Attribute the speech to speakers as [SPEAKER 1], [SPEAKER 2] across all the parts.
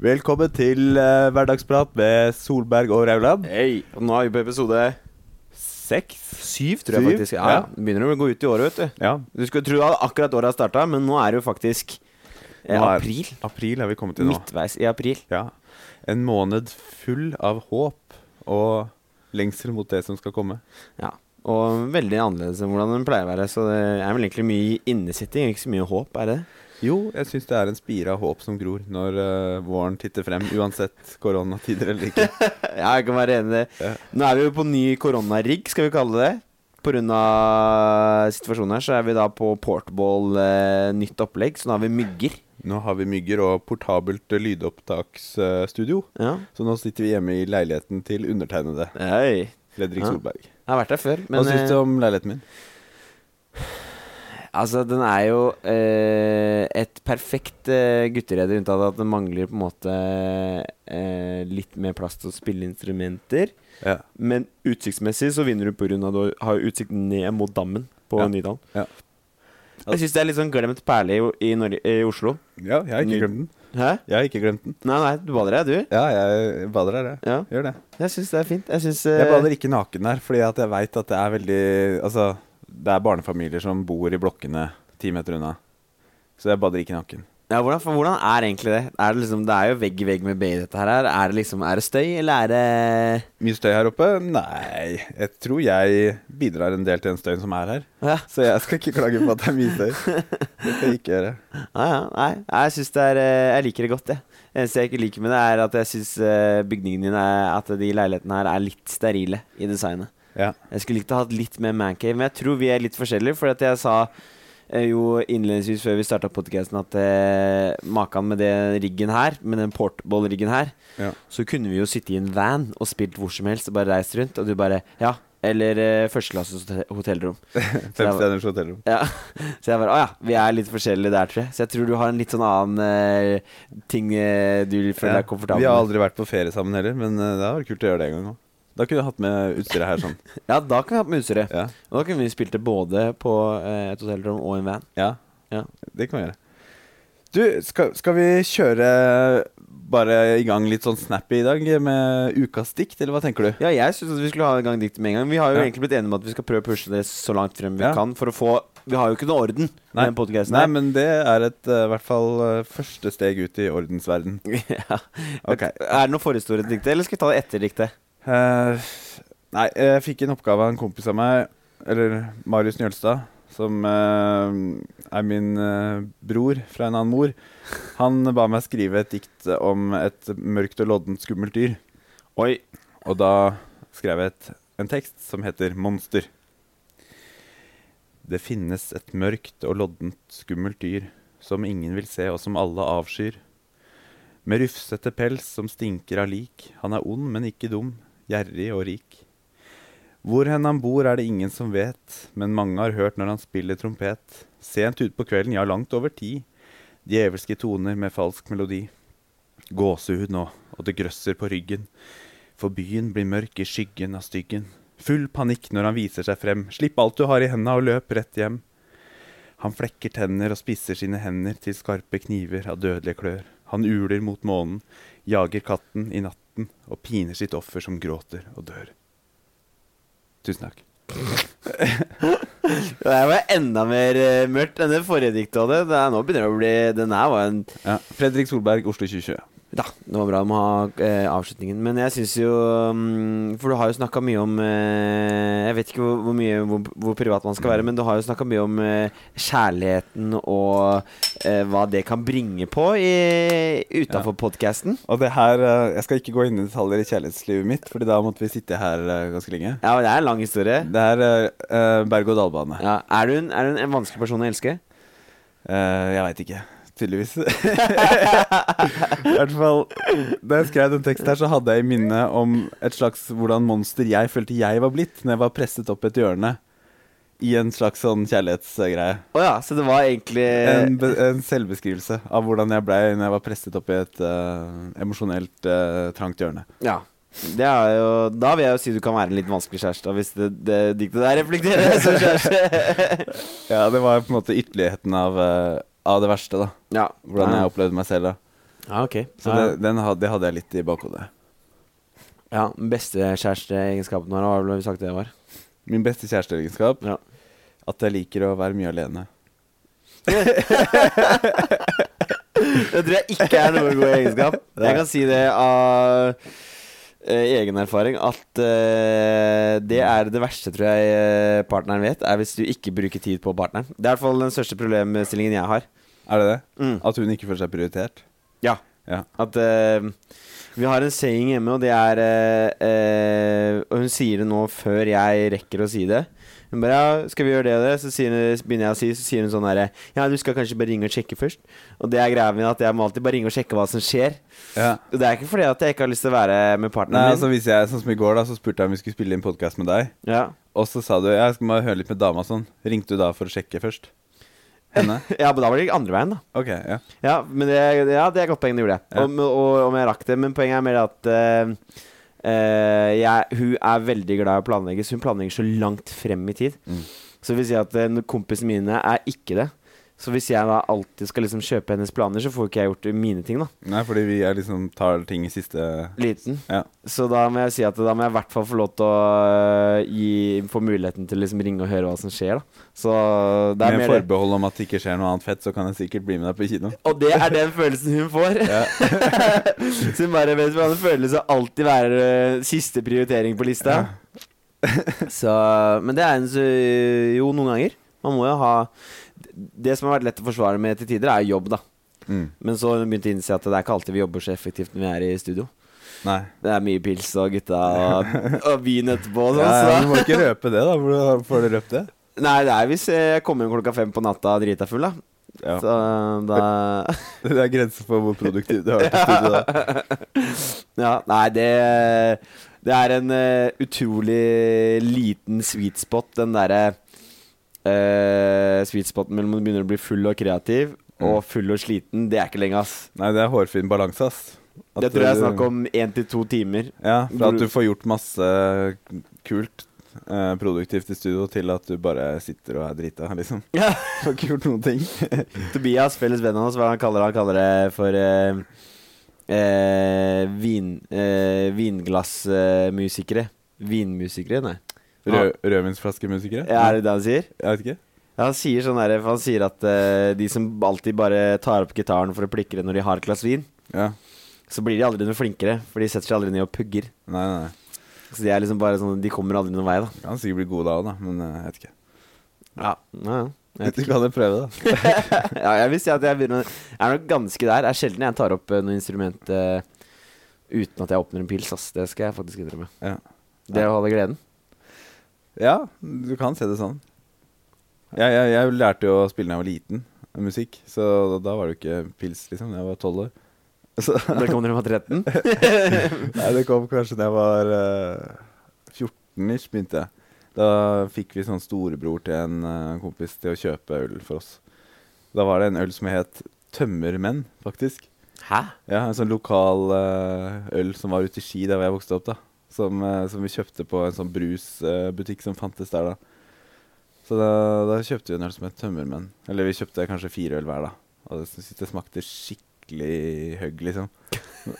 [SPEAKER 1] Velkommen til eh, Hverdagsprat med Solberg og Raulab.
[SPEAKER 2] Hei, og nå er vi på episode
[SPEAKER 1] Seks.
[SPEAKER 2] syv, tror jeg
[SPEAKER 1] Syv?
[SPEAKER 2] faktisk. Ja,
[SPEAKER 1] Ja.
[SPEAKER 2] det Begynner å gå ut i året, vet du.
[SPEAKER 1] Ja.
[SPEAKER 2] Du skulle tro at akkurat året starta, men nå er det jo faktisk eh,
[SPEAKER 1] Nå er-
[SPEAKER 2] april.
[SPEAKER 1] April er vi kommet til nå.
[SPEAKER 2] Midtveis i april.
[SPEAKER 1] Ja. En måned full av håp og lengsel mot det som skal komme.
[SPEAKER 2] Ja. Og veldig annerledes enn hvordan den pleier å være, så det er vel egentlig mye innesitting, ikke så mye håp, er det?
[SPEAKER 1] Jo, jeg syns det er en spire av håp som gror når eh, våren titter frem, uansett koronatider eller ikke.
[SPEAKER 2] Ja, jeg kan være enig i det.
[SPEAKER 1] Ja.
[SPEAKER 2] Nå er vi jo på ny koronarigg, skal vi kalle det. På grunn av situasjonen her, så er vi da på portball, eh, nytt opplegg, så nå har vi mygger.
[SPEAKER 1] Nå har vi mygger og portabelt eh, lydopptaksstudio,
[SPEAKER 2] Ja.
[SPEAKER 1] så nå sitter vi hjemme i leiligheten til undertegnede
[SPEAKER 2] Hei.
[SPEAKER 1] Fredrik
[SPEAKER 2] Ja.
[SPEAKER 1] Solberg.
[SPEAKER 2] Jeg har vært der før, men
[SPEAKER 1] Hva syns du om leiligheten min?
[SPEAKER 2] eh, altså, den er jo eh, et perfekt eh, gutterede, unntatt at den mangler på en måte eh, litt mer plass til å spille instrumenter.
[SPEAKER 1] Ja.
[SPEAKER 2] Men utsiktsmessig så vinner du på grunn av at du har utsikt ned mot dammen på
[SPEAKER 1] Ja.
[SPEAKER 2] Nydalen.
[SPEAKER 1] Ja.
[SPEAKER 2] Jeg syns det er litt sånn glemt perle i, i, Norge, i Oslo.
[SPEAKER 1] ja, jeg har
[SPEAKER 2] Ny-
[SPEAKER 1] ikke glemt den.
[SPEAKER 2] Hæ?
[SPEAKER 1] Jeg har ikke glemt den.
[SPEAKER 2] Nei, nei, du bader deg, du.
[SPEAKER 1] Ja, jeg bader her, jeg.
[SPEAKER 2] Ja,
[SPEAKER 1] Gjør det.
[SPEAKER 2] jeg syns det er fint. Jeg syns
[SPEAKER 1] Jeg bader ikke naken her, fordi at jeg veit at det er veldig Altså, det er barnefamilier som bor i blokkene ti meter unna. Så jeg bader ikke naken.
[SPEAKER 2] eh, Ja, hvordan, for hvordan er egentlig det? Er det liksom, det er jo vegg i vegg med BI, dette her. Er det liksom, er det støy, eller er det
[SPEAKER 1] Mye støy her oppe? Nei, jeg tror jeg bidrar en del til den støyen som er her.
[SPEAKER 2] Ja,
[SPEAKER 1] Så jeg skal ikke klage på at det er mye støy. Det skal jeg ikke gjøre.
[SPEAKER 2] ja, ja nei. Jeg syns det er eh, Jeg liker det godt, jeg. Det eneste jeg ikke liker med det, er at jeg syns bygningene dine er- At de leilighetene her er litt sterile i designet.
[SPEAKER 1] Ja.
[SPEAKER 2] Jeg skulle likt å ha hatt litt mer mancave, men jeg tror vi er litt forskjellige. For at jeg sa eh, jo innledningsvis før vi starta podkasten, at eh, maken med den riggen her, med den portball-riggen her,
[SPEAKER 1] Ja.
[SPEAKER 2] så kunne vi jo sitte i en van og spilt hvor som helst og bare reist rundt, og du bare Ja. Eller eh, førsteklasses hote- hotellrom.
[SPEAKER 1] Femstjerners hotellrom.
[SPEAKER 2] Ja. Så jeg bare Å ja, vi er litt forskjellige der, tror jeg. Så jeg tror du har en litt sånn annen eh, ting eh, du føler
[SPEAKER 1] Ja.
[SPEAKER 2] deg komfortabel
[SPEAKER 1] Vi har
[SPEAKER 2] med.
[SPEAKER 1] aldri vært på ferie sammen heller, men eh, det hadde vært kult å gjøre det en gang òg. Da kunne jeg hatt med utstyret her sånn.
[SPEAKER 2] Ja, da kan vi ha på Muserød.
[SPEAKER 1] Ja.
[SPEAKER 2] Og da kunne vi spilt det både på eh, et hotellrom og en van.
[SPEAKER 1] Ja,
[SPEAKER 2] Ja.
[SPEAKER 1] det kan vi gjøre. Du, skal, skal vi kjøre bare i gang litt sånn snappy i dag med ukas dikt, eller hva tenker du?
[SPEAKER 2] Ja, jeg syns vi skulle ha i gang diktet med en gang. Vi har jo
[SPEAKER 1] Ja.
[SPEAKER 2] egentlig blitt enige om at vi skal prøve å pushe det så langt frem vi
[SPEAKER 1] Ja.
[SPEAKER 2] kan for å få Vi har jo ikke noe orden
[SPEAKER 1] Nei.
[SPEAKER 2] med den podcasten
[SPEAKER 1] Nei,
[SPEAKER 2] her.
[SPEAKER 1] men det er et eh, hvert fall eh, første steg ut i ordensverden.
[SPEAKER 2] ja.
[SPEAKER 1] Ok.
[SPEAKER 2] Er det noe forhistorie til diktet, eller skal vi ta det etter diktet?
[SPEAKER 1] Eh, nei, jeg fikk en oppgave av en kompis av meg, eller Marius Njølstad, som eh, er min eh, bror fra en annen mor. Han ba meg skrive et dikt om et mørkt og loddent skummelt dyr.
[SPEAKER 2] Oi.
[SPEAKER 1] Og da skrev jeg et, en tekst som heter Monster. Det finnes et mørkt og loddent skummelt dyr som ingen vil se og som alle avskyr. Med rufsete pels som stinker av lik. Han er ond, men ikke dum, gjerrig og rik. Hvor hen han bor er det ingen som vet, men mange har hørt når han spiller trompet. Sent utpå kvelden, ja langt over ti. Djevelske toner med falsk melodi. Gåsehud nå, og det grøsser på ryggen. For byen blir mørk i skyggen av styggen. Full panikk når han viser seg frem. Slipp alt du har i henda og løp rett hjem. Han flekker tenner og spisser sine hender til skarpe kniver av dødelige klør. Han uler mot månen, jager katten i natten og piner sitt offer som gråter og dør. Tusen takk.
[SPEAKER 2] Det her var enda mer eh, mørkt enn det forrige diktet hadde. Det er, nå begynner det å bli Den her var en
[SPEAKER 1] Ja. Fredrik Solberg, Oslo 2020.
[SPEAKER 2] Da, det var bra med å ha eh, avslutningen. Men jeg syns jo mm, For du har jo snakka mye om eh, Jeg vet ikke hvor, hvor mye hvor, hvor privat man skal være, men du har jo snakka mye om eh, kjærligheten og eh, hva det kan bringe på i- utenfor podcasten podkasten.
[SPEAKER 1] Og det her, eh, Jeg skal ikke gå inn i detaljer i kjærlighetslivet mitt, Fordi da måtte vi sitte her eh, ganske lenge.
[SPEAKER 2] Ja, det er en lang historie.
[SPEAKER 1] Det er eh, berg-og-dal-bane.
[SPEAKER 2] Ja, er, du en, er du en- en vanskelig person å elske?
[SPEAKER 1] Eh, jeg veit ikke. Tydeligvis. I hvert fall Da jeg skrev den teksten her, så hadde jeg i minne om et slags hvordan monster jeg følte jeg var blitt når jeg var presset opp et hjørne I en slags sånn kjærlighetsgreie.
[SPEAKER 2] Å ja, så det var egentlig
[SPEAKER 1] En, be- en selvbeskrivelse av hvordan jeg blei når jeg var presset opp i et eh, emosjonelt eh, trangt hjørne.
[SPEAKER 2] Ja. Det er jo, da vil jeg jo si du kan være en litt vanskelig kjæreste, da, hvis det, det diktet der reflekterer deg som kjæreste.
[SPEAKER 1] Ja, det var på en måte ytterligheten av, eh, av det verste, da.
[SPEAKER 2] ja.
[SPEAKER 1] Hvordan
[SPEAKER 2] ja.
[SPEAKER 1] jeg opplevde meg selv da.
[SPEAKER 2] Ja, ok.
[SPEAKER 1] Så
[SPEAKER 2] ja.
[SPEAKER 1] det, den had, det hadde jeg litt i bakhodet.
[SPEAKER 2] ja, beste kjæresteegenskapen her, hva var det vi sagt det var?
[SPEAKER 1] Min beste kjæresteegenskap
[SPEAKER 2] Ja.
[SPEAKER 1] at jeg liker å være mye alene.
[SPEAKER 2] Det tror jeg ikke er noen god egenskap. Jeg kan si det av eh, egen erfaring at eh, det er det verste, tror jeg, eh, partneren vet, er hvis du ikke bruker tid på partneren. Det er i hvert fall den største problemstillingen jeg har.
[SPEAKER 1] Er det det?
[SPEAKER 2] Mm.
[SPEAKER 1] At hun ikke føler seg prioritert?
[SPEAKER 2] At eh, Vi har en saying hjemme, og det er eh, eh, Og hun sier det nå før jeg rekker å si det. Hun bare ja, 'Skal vi gjøre det og det?' Så sier, hun- begynner jeg å si, så sier hun sånn herre 'Ja, du skal kanskje bare ringe og sjekke først.' Og det er greia mi, at jeg må alltid bare ringe og sjekke hva som skjer.
[SPEAKER 1] Ja.
[SPEAKER 2] Og det er ikke fordi at jeg ikke har lyst til å være med
[SPEAKER 1] Nei,
[SPEAKER 2] partneren
[SPEAKER 1] altså hvis jeg, sånn som i går da, så spurte jeg om vi skulle spille inn podcast med deg
[SPEAKER 2] min. Ja.
[SPEAKER 1] Og så sa du, jeg skal bare høre litt med dama og sånn Ringte du da for å sjekke først? Henne?
[SPEAKER 2] ja, men da var det andre veien, da.
[SPEAKER 1] Ok, ja
[SPEAKER 2] Ja, men det, ja, det er et godt poeng, det gjorde jeg.
[SPEAKER 1] Ja.
[SPEAKER 2] Om, og, om jeg rakk det. Men poenget er mer at eh, eh, jeg, hun er veldig glad i å planlegge, så hun planlegger så langt frem i tid.
[SPEAKER 1] Mm.
[SPEAKER 2] Så det vil si at eh, når kompisene mine er ikke det. Så hvis jeg da alltid skal liksom kjøpe hennes planer, så får ikke jeg gjort mine ting, da.
[SPEAKER 1] Nei, fordi vi er liksom tar ting i siste
[SPEAKER 2] Liten.
[SPEAKER 1] Ja.
[SPEAKER 2] Så da må jeg si at da må jeg i hvert fall få lov til å eh, gi, få muligheten til å liksom ringe og høre hva som skjer, da. Så det er
[SPEAKER 1] Med
[SPEAKER 2] mer det.
[SPEAKER 1] forbehold om at det ikke skjer noe annet fett Så kan jeg sikkert bli med deg på kino
[SPEAKER 2] Og det er den følelsen hun får.
[SPEAKER 1] Ja,
[SPEAKER 2] Så hun bare vet hvordan det føles å alltid være eh, siste prioritering på lista. Så, men det er en så, jo noen ganger. Man må jo ha Det som har vært lett å forsvare med til tider, er jobb, da.
[SPEAKER 1] mm.
[SPEAKER 2] Men så har hun begynt å innse at det er ikke alltid vi jobber så effektivt når vi er i studio.
[SPEAKER 1] Nei
[SPEAKER 2] Det er mye pils og gutta og, og vin etterpå og
[SPEAKER 1] ja,
[SPEAKER 2] sånn.
[SPEAKER 1] ja,
[SPEAKER 2] så da-
[SPEAKER 1] Du må ikke røpe det da, for da får du røpt det
[SPEAKER 2] Nei, det er hvis eh, jeg kommer hjem klokka fem på natta drita full, da.
[SPEAKER 1] Ja
[SPEAKER 2] Så eh, da
[SPEAKER 1] Det er grenser for hvor produktiv du har vært i studio da
[SPEAKER 2] Ja, nei, det Det er en eh, utrolig liten sweet spot, den derre eh, Sweet spoten mellom du begynner å bli full og kreativ
[SPEAKER 1] Mm.
[SPEAKER 2] og full og sliten. Det er ikke lenge, ass.
[SPEAKER 1] Nei, det er hårfin balanse ass At
[SPEAKER 2] det tror jeg er
[SPEAKER 1] du-
[SPEAKER 2] snakk om én til to timer.
[SPEAKER 1] Ja, fra at du får gjort masse kult, eh, produktivt i studio, til at du bare sitter og er drita, liksom.
[SPEAKER 2] Ja.
[SPEAKER 1] Får ikke gjort noen ting.
[SPEAKER 2] Tobias, felles venn av oss, hva han kaller det? Han kaller det for eh, eh, vin, eh, vinglassmusikere. Vinmusikere, nei.
[SPEAKER 1] Rød, rødvinsflaskemusikere?
[SPEAKER 2] Ja, er det det han sier?
[SPEAKER 1] Jeg vet ikke.
[SPEAKER 2] Ja, han sier sånn der, for han sier at eh, de som alltid bare tar opp gitaren for å plikke det når de har et glass vin,
[SPEAKER 1] Ja.
[SPEAKER 2] så blir de aldri noe flinkere, for de setter seg aldri ned og pugger.
[SPEAKER 1] Nei, nei, nei.
[SPEAKER 2] Så de er liksom bare sånn, de kommer aldri noen vei, da.
[SPEAKER 1] Kan sikkert bli god da òg, da, men eh, jeg vet ikke.
[SPEAKER 2] Ja, ja. Jeg vet
[SPEAKER 1] Du
[SPEAKER 2] ikke.
[SPEAKER 1] kan jo prøve, da.
[SPEAKER 2] ja, jeg vil si at jeg begynner Jeg er nok ganske der. Det er sjelden jeg tar opp eh, noe instrument eh, uten at jeg åpner en pils, ass. Det skal jeg faktisk innrømme.
[SPEAKER 1] Ja.
[SPEAKER 2] Det å holde gleden.
[SPEAKER 1] Ja, du kan se det sånn. Jeg, jeg, jeg lærte jo å spille da jeg var liten, musikk, så da var det jo ikke pils, liksom. da Jeg var tolv år. Så
[SPEAKER 2] Da kom dere med 13.
[SPEAKER 1] Nei, det kom kanskje da jeg var eh, 14 ish, begynte jeg. Da fikk vi sånn storebror til en eh, kompis til å kjøpe øl for oss. Da var det en øl som het Tømmermenn, faktisk.
[SPEAKER 2] Hæ?
[SPEAKER 1] Ja, En sånn lokal eh, øl som var ute i Ski, der hvor jeg vokste opp. da Som, eh, som vi kjøpte på en sånn brusbutikk som fantes der da. Så da, da kjøpte vi en øl som het Tømmermenn. Eller vi kjøpte kanskje fire øl hver, da. Og det, synes det smakte skikkelig høgg, liksom.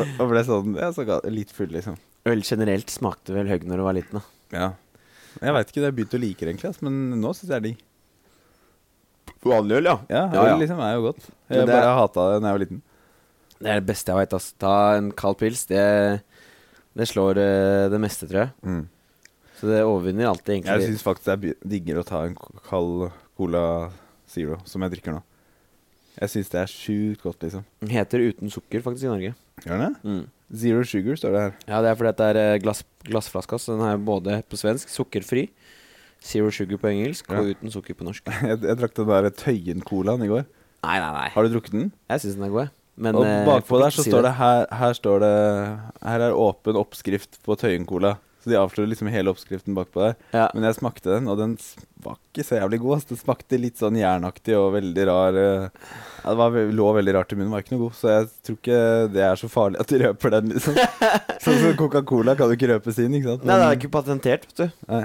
[SPEAKER 1] Og- Og ble sånn ja, så ga- litt full, liksom.
[SPEAKER 2] Øl generelt smakte vel høgg når du var liten, da.
[SPEAKER 1] Ja. Jeg veit ikke, det har jeg begynt å like det, egentlig. ass, Men nå syns jeg det er digg.
[SPEAKER 2] Vanlig øl,
[SPEAKER 1] Ja,
[SPEAKER 2] Ja, ja.
[SPEAKER 1] Øl liksom er jo godt.
[SPEAKER 2] Men
[SPEAKER 1] Jeg
[SPEAKER 2] det er-
[SPEAKER 1] bare hata det da jeg var liten.
[SPEAKER 2] Det er det beste jeg veit, ass. Ta en kald pils. Det, det slår eh, det meste, tror jeg. Så det overvinner alltid,
[SPEAKER 1] Jeg
[SPEAKER 2] egentlig.
[SPEAKER 1] syns faktisk det er by- diggere å ta en k- kald Cola Zero, som jeg drikker nå. Jeg syns det er sjukt godt, liksom.
[SPEAKER 2] Den heter uten sukker, faktisk, i Norge.
[SPEAKER 1] Gjør den det?
[SPEAKER 2] Mm.
[SPEAKER 1] Zero sugar står det her.
[SPEAKER 2] Ja, det er fordi at det er eh, glass, glassflaska, så den er både på svensk, sukkerfri, zero sugar på engelsk og uten sukker på norsk.
[SPEAKER 1] Jeg, jeg drakk den der Tøyen-colaen i går.
[SPEAKER 2] Nei, nei, nei.
[SPEAKER 1] Har du drukket den?
[SPEAKER 2] Jeg syns den er god, jeg. Men
[SPEAKER 1] Og
[SPEAKER 2] eh,
[SPEAKER 1] bakpå
[SPEAKER 2] får
[SPEAKER 1] der
[SPEAKER 2] ikke
[SPEAKER 1] så
[SPEAKER 2] si
[SPEAKER 1] står det her, her står det Her er åpen oppskrift på Tøyen-cola. Så de avslører liksom hele oppskriften bakpå der.
[SPEAKER 2] Ja.
[SPEAKER 1] Men jeg smakte den, og den s- var ikke så jævlig god. ass. Den smakte litt sånn jernaktig og veldig rar. eh, Ja, det var, ve- lå veldig rart i munnen, var ikke noe god. Så jeg tror ikke det er så farlig at de røper den, liksom. Sånn som Coca-Cola kan jo ikke røpe sin, ikke sant?
[SPEAKER 2] Nei, det er ikke patentert, vet du.
[SPEAKER 1] Nei.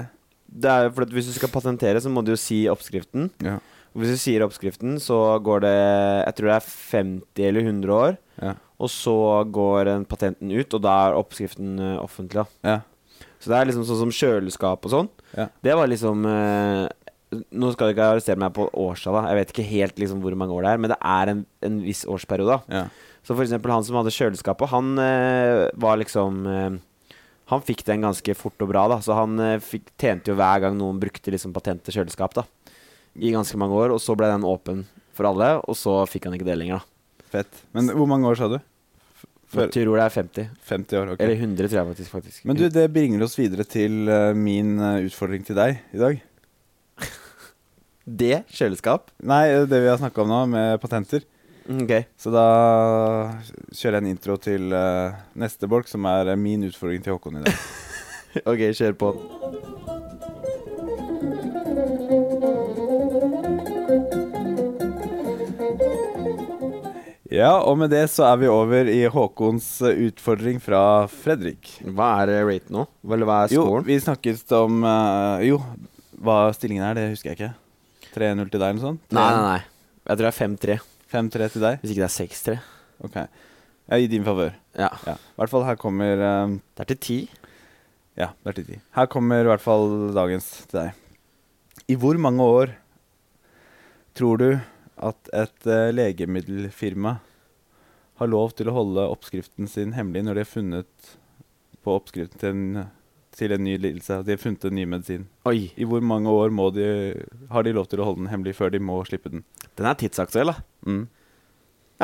[SPEAKER 2] Det er jo fordi at Hvis du skal patentere, så må du jo si oppskriften.
[SPEAKER 1] Ja.
[SPEAKER 2] Og Hvis du sier oppskriften, så går det Jeg tror det er 50 eller 100 år.
[SPEAKER 1] Ja.
[SPEAKER 2] Og så går den patenten ut, og da er oppskriften eh, offentlig. Da.
[SPEAKER 1] Ja.
[SPEAKER 2] Så det er liksom sånn som kjøleskap og sånn.
[SPEAKER 1] Ja.
[SPEAKER 2] Det var liksom eh, Nå skal du ikke arrestere meg på årstallet. Jeg vet ikke helt liksom hvor mange år det er, men det er en, en viss årsperiode. Da.
[SPEAKER 1] Ja.
[SPEAKER 2] Så for eksempel han som hadde kjøleskapet, han eh, var liksom eh, Han fikk den ganske fort og bra, da. Så han eh, fikk, tjente jo hver gang noen brukte liksom patent til kjøleskap, da. I ganske mange år. Og så ble den åpen for alle, og så fikk han ikke det lenger, da.
[SPEAKER 1] Fett. Men hvor mange år sa du? F-
[SPEAKER 2] Jeg
[SPEAKER 1] Før
[SPEAKER 2] tror det er 50.
[SPEAKER 1] 50 år, ok.
[SPEAKER 2] Eller 100, tror jeg faktisk. faktisk.
[SPEAKER 1] Men du, det bringer oss videre til eh, min eh, utfordring til deg i dag.
[SPEAKER 2] det kjøleskap?
[SPEAKER 1] Nei, eh, det vi har snakka om nå, med patenter.
[SPEAKER 2] Mm, Ok.
[SPEAKER 1] Så da kjører jeg en intro til eh, neste bolk, som er eh, min utfordring til Håkon i dag.
[SPEAKER 2] Ok, kjør på.
[SPEAKER 1] ja, og med det så er vi over i Håkons eh, utfordring fra Fredrik.
[SPEAKER 2] Hva er eh, rate nå? Eller hva er
[SPEAKER 1] Jo,
[SPEAKER 2] scoren?
[SPEAKER 1] vi snakket om eh, Jo, hva stillingen er, det husker jeg ikke. 3-0 til deg eller noe sånt?
[SPEAKER 2] Nei, nei, nei. Jeg tror det er 5-3.
[SPEAKER 1] 5-3 til deg?
[SPEAKER 2] Hvis ikke det er 6-3.
[SPEAKER 1] Ok. Ja, I din favør.
[SPEAKER 2] Ja.
[SPEAKER 1] Ja. I hvert fall her kommer eh,
[SPEAKER 2] Det er til 10.
[SPEAKER 1] Ja, det er til ti. Her kommer i hvert fall dagens til deg. I hvor mange år tror du at et eh, legemiddelfirma har lov til å holde oppskriften sin hemmelig når de har funnet på oppskriften til en, til en ny lidelse? at De har funnet en ny medisin.
[SPEAKER 2] Oi.
[SPEAKER 1] I hvor mange år må de, har de lov til å holde den hemmelig før de må slippe den?
[SPEAKER 2] Den er tidsaktuell, da.
[SPEAKER 1] Mm.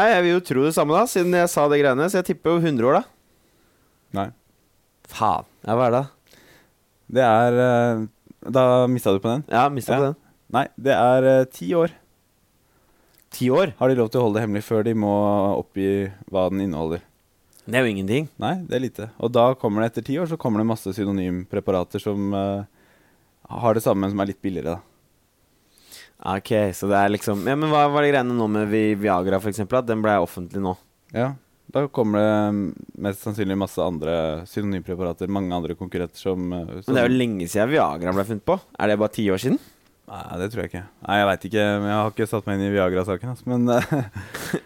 [SPEAKER 2] Nei, Jeg vil jo tro det samme, da, siden jeg sa det greiene. Så jeg tipper jo 100 år, da.
[SPEAKER 1] Nei.
[SPEAKER 2] Faen. Ja, hva er det?
[SPEAKER 1] Det er eh, Da mista du på den?
[SPEAKER 2] Ja, mista
[SPEAKER 1] Ja.
[SPEAKER 2] på den.
[SPEAKER 1] Nei, det er eh, ti år.
[SPEAKER 2] Ti år?
[SPEAKER 1] Har de lov til å holde det hemmelig før de må oppgi hva den inneholder?
[SPEAKER 2] Det er jo ingenting.
[SPEAKER 1] Nei, det er lite. Og da kommer det etter ti år så kommer det masse synonympreparater som eh, har det samme, men som er litt billigere. da.
[SPEAKER 2] Ok, så det er liksom Ja, Men hva var det greiene nå med Vi- Viagra, for eksempel? At den ble offentlig nå?
[SPEAKER 1] Ja, Da kommer det mm, mest sannsynlig masse andre synonympreparater, mange andre konkurrenter som, eh, som
[SPEAKER 2] Men det er jo lenge siden Viagra ble funnet på. Er det bare ti år siden?
[SPEAKER 1] Nei, det tror jeg ikke. Nei, jeg veit ikke. men Jeg har ikke satt meg inn i Viagra-saken. ass, Men eh,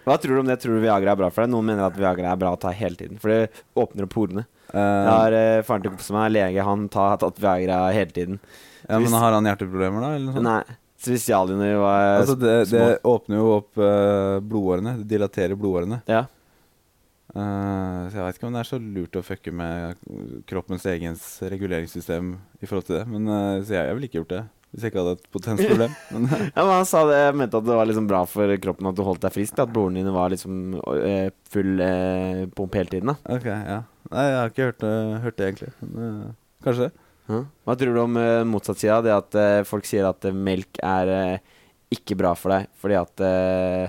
[SPEAKER 2] Hva tror du om det? Tror du Viagra er bra for deg? Noen mener at Viagra er bra å ta hele tiden, for det åpner opp horene. Jeg har eh, faren til kompisen min er lege, han tar, har tatt Viagra hele tiden.
[SPEAKER 1] ja, Men har han hjerteproblemer, da? Eller noe sånt?
[SPEAKER 2] Nei. Så hvis Jali når vi var
[SPEAKER 1] Altså, det,
[SPEAKER 2] små-
[SPEAKER 1] det åpner jo opp eh, blodårene. Det dilaterer blodårene.
[SPEAKER 2] Ja.
[SPEAKER 1] Eh, så jeg veit ikke om det er så lurt å fucke med kroppens egens reguleringssystem i forhold til det. Men eh, så jeg, jeg ville ikke gjort det hvis jeg ikke hadde et potensproblem. Men, eh,
[SPEAKER 2] ja, men han sa det, jeg mente at det var liksom bra for kroppen at du holdt deg frisk, da, at broren din var liksom eh, full eh, pump hele tiden, da.
[SPEAKER 1] ok, ja. Nei, jeg har ikke hørt det, hørt det egentlig. Men, eh, kanskje.
[SPEAKER 2] Hva tror du om eh, motsatt sida? Det at eh, folk sier at eh, melk er eh, ikke bra for deg fordi at eh,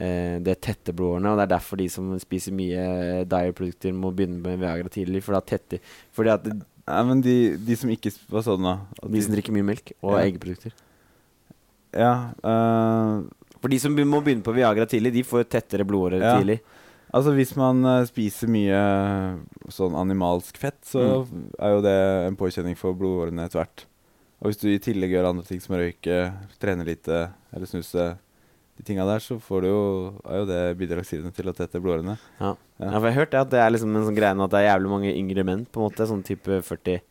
[SPEAKER 2] eh, det tetter blodårene, og det er derfor de som spiser mye eh, dairy-produkter, må begynne med Viagra tidlig, for da tetter Fordi at
[SPEAKER 1] Nei, men de, de som ikke sp- Hva sa du nå? At
[SPEAKER 2] de som drikker mye melk og
[SPEAKER 1] Ja.
[SPEAKER 2] eggeprodukter
[SPEAKER 1] Ja. eh,
[SPEAKER 2] For de som be- må begynne på Viagra tidlig, de får tettere blodårer
[SPEAKER 1] Ja.
[SPEAKER 2] tidlig.
[SPEAKER 1] Altså hvis man eh, spiser mye sånn animalsk fett, så er jo det en påkjenning for blodårene etter hvert. Og hvis du i tillegg gjør andre ting som å røyke, trene lite eller snuse, de tinga der, så får du jo, er jo det bidragsidene til å tette blodårene. Ja.
[SPEAKER 2] Ja, for jeg har hørt det at det er liksom en sånn greie nå at det er jævlig mange yngre menn, på en måte, sånn type 40-50,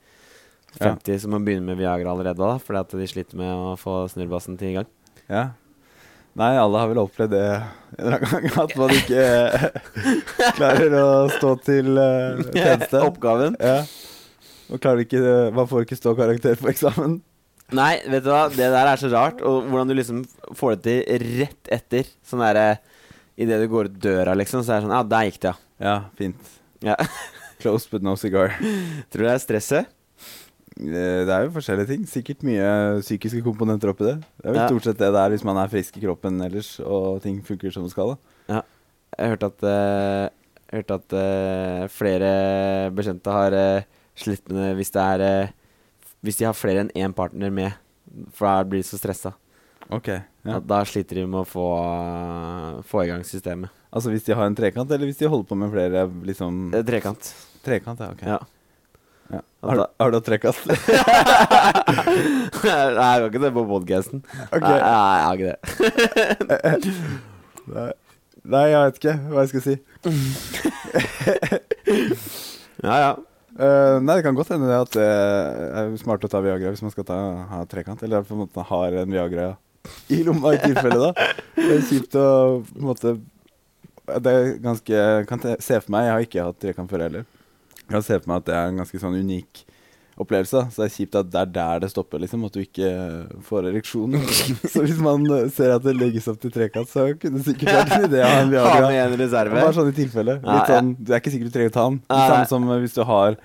[SPEAKER 1] Ja.
[SPEAKER 2] som må begynne med Viagra allerede da, fordi at de sliter med å få snurrbassen til i gang.
[SPEAKER 1] Ja. Nei, alle har vel opplevd det en eller annen gang, at man ikke eh, klarer å stå til eh, tjeneste.
[SPEAKER 2] Oppgaven.
[SPEAKER 1] Ja. Og klarer ikke, man får ikke stå karakter på eksamen.
[SPEAKER 2] Nei, vet du hva, det der er så rart, og hvordan du liksom får det til rett etter. Sånn derre Idet du går ut døra, liksom, så er det sånn Ja, der gikk det,
[SPEAKER 1] Ja, fint.
[SPEAKER 2] ja.
[SPEAKER 1] Close but no cigar.
[SPEAKER 2] ja. Tror du det er stresset?
[SPEAKER 1] Eh, Det er jo forskjellige ting. Sikkert mye psykiske komponenter oppi det. Det er jo
[SPEAKER 2] Ja.
[SPEAKER 1] stort sett det det er hvis man er frisk i kroppen ellers og ting funker som det skal. da
[SPEAKER 2] Jeg hørte at eh, jeg hørte at eh, flere bekjente har uh, slett med det hvis det er eh, Hvis de har flere enn én partner med. For da blir de så stressa.
[SPEAKER 1] Ok. Ja.
[SPEAKER 2] At Da sliter de med å få, eh, få i gang systemet.
[SPEAKER 1] Altså hvis de har en trekant, eller hvis de holder på med flere liksom
[SPEAKER 2] Eh, Trekant.
[SPEAKER 1] Trekant, ja. Ok.
[SPEAKER 2] Ja.
[SPEAKER 1] Ja. Har, du- har du hatt trekant?
[SPEAKER 2] Nei, jeg har ikke det på podcasten.
[SPEAKER 1] Ok.
[SPEAKER 2] Nei, nei, jeg har ikke det.
[SPEAKER 1] Nei. Nei, jeg vet ikke hva jeg skal si.
[SPEAKER 2] Ja, ja.
[SPEAKER 1] Eh, nei, det kan godt hende det at det er smart å ta Viagra hvis man skal ta, ha trekant. Eller på en måte har en Viagra i lomma i tilfelle, da. Det er kjipt å på en måte Det er ganske jeg Kan te- se for meg Jeg har ikke hatt trekant før heller. Jeg kan se for meg at det er en ganske sånn unik opplevelse. da. Så det er kjipt at det er der det stopper, liksom. At du ikke får ereksjon. så hvis man eh, ser at det legges opp til trekant, så kunne det sikkert vært en idé å ha en
[SPEAKER 2] Ha
[SPEAKER 1] Viagra.
[SPEAKER 2] med en reserve.
[SPEAKER 1] Bare sånn i tilfelle.
[SPEAKER 2] Ja,
[SPEAKER 1] Litt
[SPEAKER 2] ja.
[SPEAKER 1] sånn, Du er ikke sikkert du trenger å ta den. Det
[SPEAKER 2] Nei, nei.
[SPEAKER 1] samme som eh, hvis du har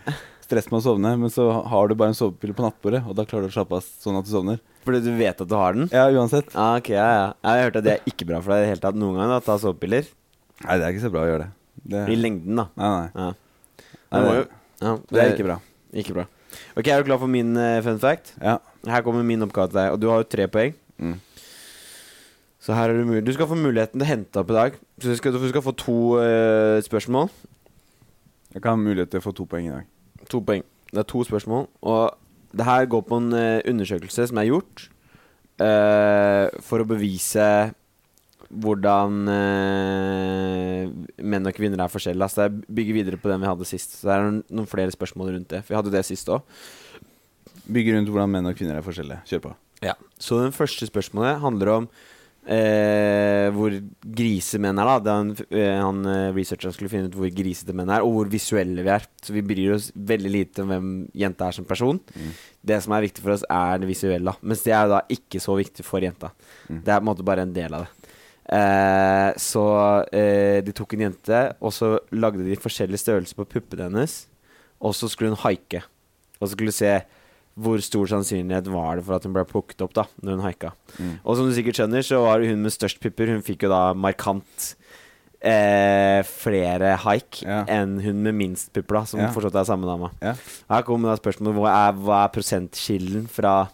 [SPEAKER 1] stress med å sovne, men så har du bare en sovepille på nattbordet, og da klarer du å slappe av sånn at du sovner.
[SPEAKER 2] Fordi du vet at du har den?
[SPEAKER 1] Ja, uansett.
[SPEAKER 2] Ja, ok, ja, ja. Jeg har hørt at det er ikke bra for deg i det hele tatt noen gang. da, Å ta sovepiller.
[SPEAKER 1] Nei, det er ikke så bra å gjøre det. det
[SPEAKER 2] I lengden, da.
[SPEAKER 1] nei, nei.
[SPEAKER 2] Ja.
[SPEAKER 1] Nei,
[SPEAKER 2] Det må
[SPEAKER 1] det,
[SPEAKER 2] jo- Ja,
[SPEAKER 1] det er ikke bra.
[SPEAKER 2] Ikke bra. Ok, Er du klar for min eh, fun fact?
[SPEAKER 1] Ja.
[SPEAKER 2] Her kommer min oppgave til deg. Og du har jo tre poeng.
[SPEAKER 1] Mm.
[SPEAKER 2] Så her er du, mul- du skal få muligheten til å hente opp i dag. Så du skal, du skal få to eh, spørsmål.
[SPEAKER 1] Jeg kan ha mulighet til å få to poeng i dag.
[SPEAKER 2] To poeng. Det er to spørsmål. Og det her går på en eh, undersøkelse som er gjort eh, for å bevise hvordan eh, menn og kvinner er forskjellige. Altså det er- bygger videre på den vi hadde sist. Så det er noen, noen flere spørsmål rundt det. For vi hadde jo det sist òg.
[SPEAKER 1] Bygger rundt hvordan menn og kvinner er forskjellige. Kjør på.
[SPEAKER 2] Så den første spørsmålet handler om eh, hvor grise menn er. da Det han, eh, han eh, researcheren skulle finne ut hvor grisete menn er, og hvor visuelle vi er. Så vi bryr oss veldig lite om hvem jenta er som person.
[SPEAKER 1] Mm.
[SPEAKER 2] Det som er viktig for oss, er det visuelle. da. Mens det er jo da ikke så viktig for jenta.
[SPEAKER 1] Mm.
[SPEAKER 2] Det er på en måte bare en del av det. Eh, så eh, de tok en jente, og så lagde de forskjellige størrelser på puppene hennes. Og så skulle hun haike. Og så skulle du se hvor stor sannsynlighet var det for at hun ble plukket opp da Når hun haika.
[SPEAKER 1] Mm.
[SPEAKER 2] Og som du sikkert skjønner, så var det hun med størst pupper. Hun fikk jo da markant eh, flere haik
[SPEAKER 1] Ja.
[SPEAKER 2] enn hun med minst pupper, da som
[SPEAKER 1] Ja.
[SPEAKER 2] forstått er samme dama.
[SPEAKER 1] Ja.
[SPEAKER 2] Her kommer da spørsmålet hva er, hva er prosentkilden fra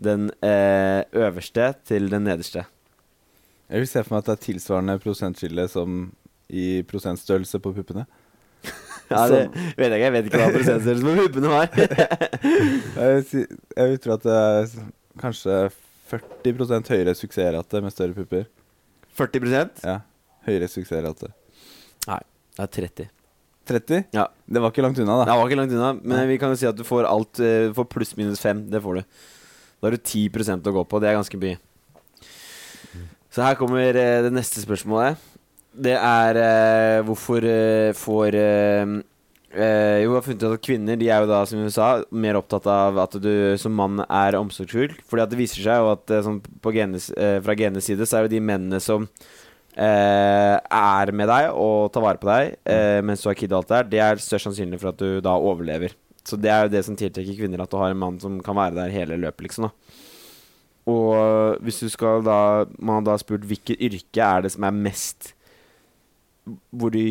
[SPEAKER 2] den eh, øverste til den nederste?
[SPEAKER 1] Jeg vil se for meg at det er tilsvarende prosentskille som i prosentstørrelse på puppene.
[SPEAKER 2] Ja, det vet jeg ikke. Jeg vet ikke hva prosentstørrelsen på puppene var.
[SPEAKER 1] Jeg vil, si, jeg vil tro at det er s- kanskje 40 høyere suksessrate med større pupper.
[SPEAKER 2] 40
[SPEAKER 1] Ja. Høyere suksessrate.
[SPEAKER 2] Det er 30.
[SPEAKER 1] 30?
[SPEAKER 2] Ja.
[SPEAKER 1] Det var ikke langt unna,
[SPEAKER 2] Det
[SPEAKER 1] da.
[SPEAKER 2] var ikke langt unna, men
[SPEAKER 1] Nei.
[SPEAKER 2] vi kan jo si at du får alt eh, For pluss minus fem. Det får du. Da har du 10 å gå på. Det er ganske mye. Så her kommer eh, det neste spørsmålet. Det er eh, hvorfor eh, får eh, eh, Jo, jeg har funnet ut at kvinner De er jo da, som vi sa, mer opptatt av at du som mann er omsorgsfull. Fordi at det viser seg jo at eh, sånn på genes, eh, fra genenes side så er jo de mennene som eh, er med deg og tar vare på deg eh, mens du har kid og alt det der, det er størst sannsynlig for at du da overlever. Så det er jo det som tiltrekker kvinner, at du har en mann som kan være der hele løpet, liksom. da Og hvis du skal da Man har da spurt hvilket yrke er det som er mest Hvor de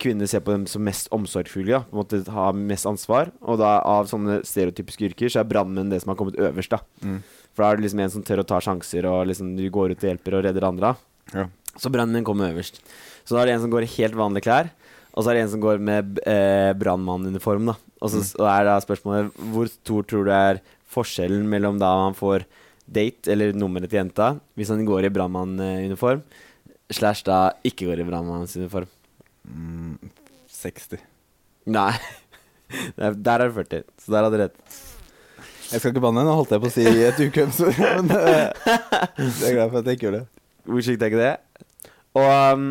[SPEAKER 2] kvinner ser på dem som mest omsorgsfulle, da. På en måte har mest ansvar. Og da av sånne stereotypiske yrker, så er brannmenn det som har kommet øverst, da.
[SPEAKER 1] Mm.
[SPEAKER 2] For da er det liksom en som tør å ta sjanser, og liksom du går ut og hjelper og redder andre. da.
[SPEAKER 1] Ja.
[SPEAKER 2] Så brannmenn kommer øverst. Så da er det en som går i helt vanlige klær, og så er det en som går med eh, brannmannuniform. da. Og så og er da spørsmålet hvor stor tror du er forskjellen mellom da han får date, eller nummeret til jenta, hvis han går i brannmannuniform, slash da ikke går i brannmannsuniform?
[SPEAKER 1] Mm, 60.
[SPEAKER 2] Nei. Der der er det 40, så der hadde du rett.
[SPEAKER 1] Jeg skal ikke banne, nå holdt jeg på å si et ukvemsord, men eh, jeg er glad for at jeg ikke gjorde det.
[SPEAKER 2] Hvor sykt er ikke det? Og um,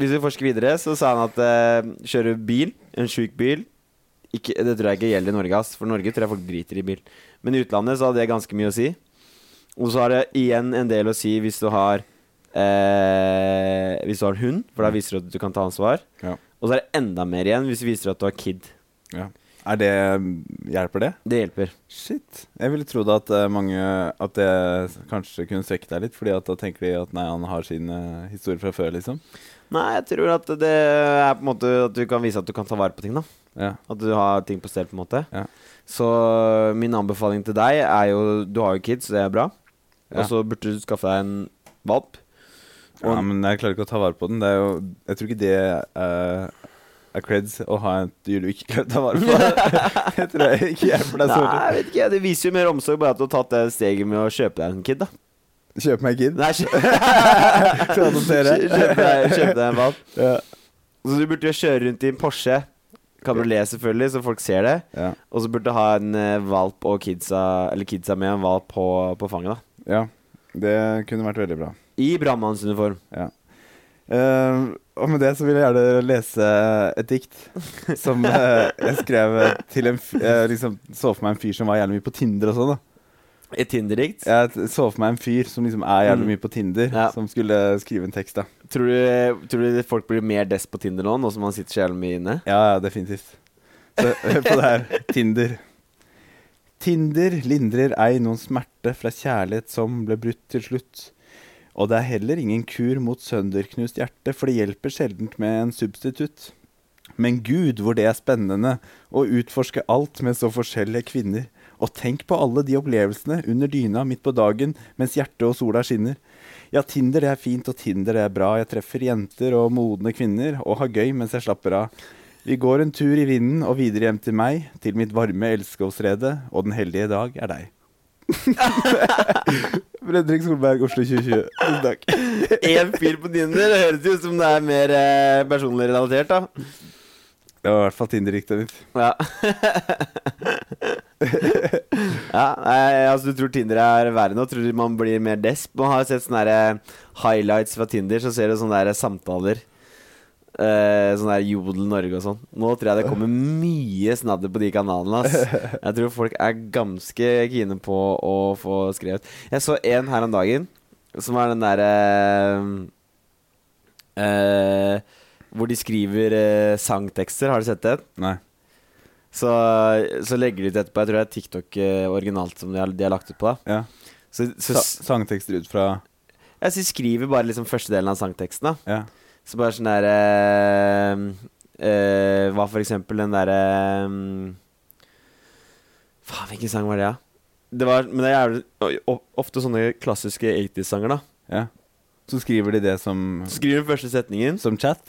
[SPEAKER 2] hvis vi forsker videre, så sa han at eh, kjører du bil, en sjuk bil ikke, Det tror jeg ikke gjelder i Norge, ass, for i Norge tror jeg folk driter i bil. Men i utlandet så har det ganske mye å si. Og så har det igjen en del å si hvis du har eh, Hvis du har hund, for da viser du at du kan ta ansvar.
[SPEAKER 1] Ja.
[SPEAKER 2] Og så er det enda mer igjen hvis du viser at du har kid.
[SPEAKER 1] Ja. Er det mm, Hjelper det?
[SPEAKER 2] Det hjelper.
[SPEAKER 1] Shit. Jeg ville trodd at eh, mange At det kanskje kunne svekke deg litt, Fordi at da tenker de at nei, han har sin eh, historie fra før, liksom.
[SPEAKER 2] Nei, jeg tror at det er på en måte at du kan vise at du kan ta vare på ting, da.
[SPEAKER 1] Ja.
[SPEAKER 2] At du har ting på stell, på en måte.
[SPEAKER 1] Ja.
[SPEAKER 2] Så øh, min anbefaling til deg er jo Du har jo kids, så det er bra.
[SPEAKER 1] Ja.
[SPEAKER 2] Og så burde du skaffe deg en valp.
[SPEAKER 1] ja,
[SPEAKER 2] Og-
[SPEAKER 1] men jeg klarer ikke å ta vare på den. Det er jo Jeg tror ikke det eh, er creds å ha et dyr du ikke klarer å ta vare på. jeg tror jeg ikke hjelper deg så
[SPEAKER 2] Nei,
[SPEAKER 1] mye.
[SPEAKER 2] jeg vet ikke, det viser jo mer omsorg bare at du har tatt det steget med å kjøpe deg en kid, da.
[SPEAKER 1] Kjøp meg kid.
[SPEAKER 2] Nei, kjø-
[SPEAKER 1] Skal jeg notere?
[SPEAKER 2] kjøpe deg, kjøpe deg en valp.
[SPEAKER 1] Ja.
[SPEAKER 2] Så du burde jo kjøre rundt i en Porsche kabriolet, selvfølgelig, så folk ser det.
[SPEAKER 1] Ja.
[SPEAKER 2] Og så burde du ha en eh, valp og kidsa Eller kidsa med en valp på, på fanget, da.
[SPEAKER 1] ja. Det kunne vært veldig bra.
[SPEAKER 2] I brannmannsuniform.
[SPEAKER 1] Eh, og med det så vil jeg gjerne lese et dikt som eh, jeg skrev til en f Jeg liksom så for meg en fyr som var jævlig mye på Tinder og sånn. da
[SPEAKER 2] Et Tinder-dikt.
[SPEAKER 1] Jeg t- så for meg en fyr som liksom er jævlig mye på Tinder,
[SPEAKER 2] Ja.
[SPEAKER 1] som skulle skrive en tekst. da
[SPEAKER 2] Tror, du, tror du folk blir mer dess på Tinder nå, nå som man sitter så jævlig mye inne?
[SPEAKER 1] Ja, ja, definitivt. Så hør på det her. Tinder. Tinder lindrer ei noen smerte fra kjærlighet som ble brutt til slutt. Og det er heller ingen kur mot sønderknust hjerte, for det hjelper sjeldent med en substitutt. Men gud, hvor det er spennende å utforske alt med så forskjellige kvinner. Og tenk på alle de opplevelsene under dyna midt på dagen mens hjertet og sola skinner. Ja, Tinder det er fint, og Tinder det er bra. Jeg treffer jenter og modne kvinner og har gøy mens jeg slapper av. Vi går en tur i vinden og videre hjem til meg, til mitt varme elskovsrede, og den heldige dag er deg. Fredrik Solberg, Oslo 2020. Tusen takk.
[SPEAKER 2] Én fyr på Tinder, det høres jo ut som det er mer eh, personlig relatert, da.
[SPEAKER 1] Det var i hvert fall Tinder-diktet mitt.
[SPEAKER 2] Ja. ja nei, altså, du tror Tinder er verre nå? Tror du man blir mer desp? Man har jo sett sånne der, eh, highlights fra Tinder, så ser du sånne der samtaler. Eh, sånn der Jodel Norge og sånn. Nå tror jeg det kommer mye snadder på de kanalene. Ass. Jeg tror folk er ganske kine på å få skrevet. Jeg så en her om dagen, som er den derre eh, Hvor de skriver eh, sangtekster. Har du sett den?
[SPEAKER 1] Nei.
[SPEAKER 2] Så, så legger de ut etterpå. Jeg tror det er TikTok eh, originalt som de har, de har lagt ut på. da
[SPEAKER 1] Ja.
[SPEAKER 2] Så, så
[SPEAKER 1] Sa sangtekster ut fra
[SPEAKER 2] jeg synes skriver bare liksom første delen av sangteksten. da
[SPEAKER 1] Ja.
[SPEAKER 2] Så bare sånn derre Hva for eksempel den derre eh, Faen, hvilken sang var det, da? Det var, men det er jævlig, oi, o- ofte sånne klassiske 80s-sanger, da.
[SPEAKER 1] ja. Så skriver de det som,
[SPEAKER 2] Skriver første setningen.
[SPEAKER 1] som chat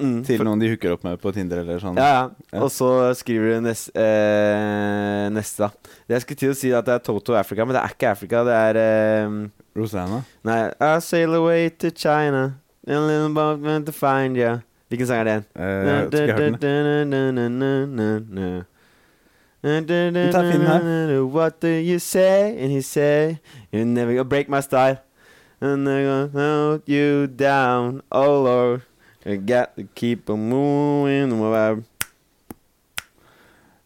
[SPEAKER 2] Mm,
[SPEAKER 1] til
[SPEAKER 2] for-
[SPEAKER 1] noen de hooker opp med på Tinder eller sånn.
[SPEAKER 2] Ja, ja.
[SPEAKER 1] Ja.
[SPEAKER 2] Og så skriver du nes, eh, neste, da. Det jeg skulle til å si, at det er Toto Africa, men det er ikke Africa. Det er eh,
[SPEAKER 1] Rosanna.
[SPEAKER 2] Nei I sail away to China. In a little boat meant to find you. Hvilken sang er det?
[SPEAKER 1] Eh, skal jeg høre den?
[SPEAKER 2] Du
[SPEAKER 1] tar Finn
[SPEAKER 2] What do you say? And he say You're never gonna break my style. And they're gonna hold you down. Oh lord. You got to keep on moving.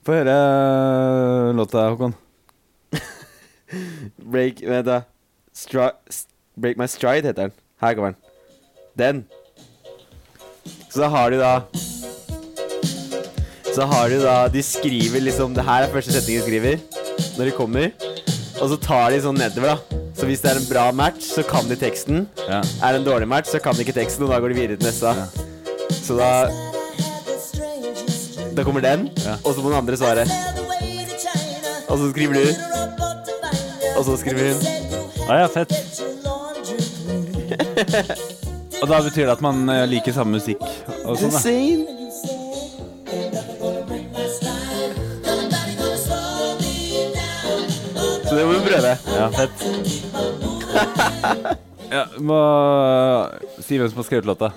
[SPEAKER 1] Få høre eh, låta, Håkon.
[SPEAKER 2] Break Vent, da. Stri st- break my stride heter den. Her kommer den. Den. Så da har du da Så har du da De skriver liksom Det her er første setning de skriver når de kommer. Og så tar de sånn nedover, da. Så hvis det er en bra match, så kan de teksten.
[SPEAKER 1] Ja.
[SPEAKER 2] Er det en dårlig match, så kan de ikke teksten, og da går de videre til neste. da. Så da Da kommer den,
[SPEAKER 1] Ja.
[SPEAKER 2] og så må den andre svare. Og så skriver du Og så skriver hun
[SPEAKER 1] Ja, ja, fett. Og da betyr det at man eh, liker samme musikk og sånn, da.
[SPEAKER 2] Insane. Så det må vi prøve.
[SPEAKER 1] Ja, fett. Ja, må eh, si hvem som har skrevet låta.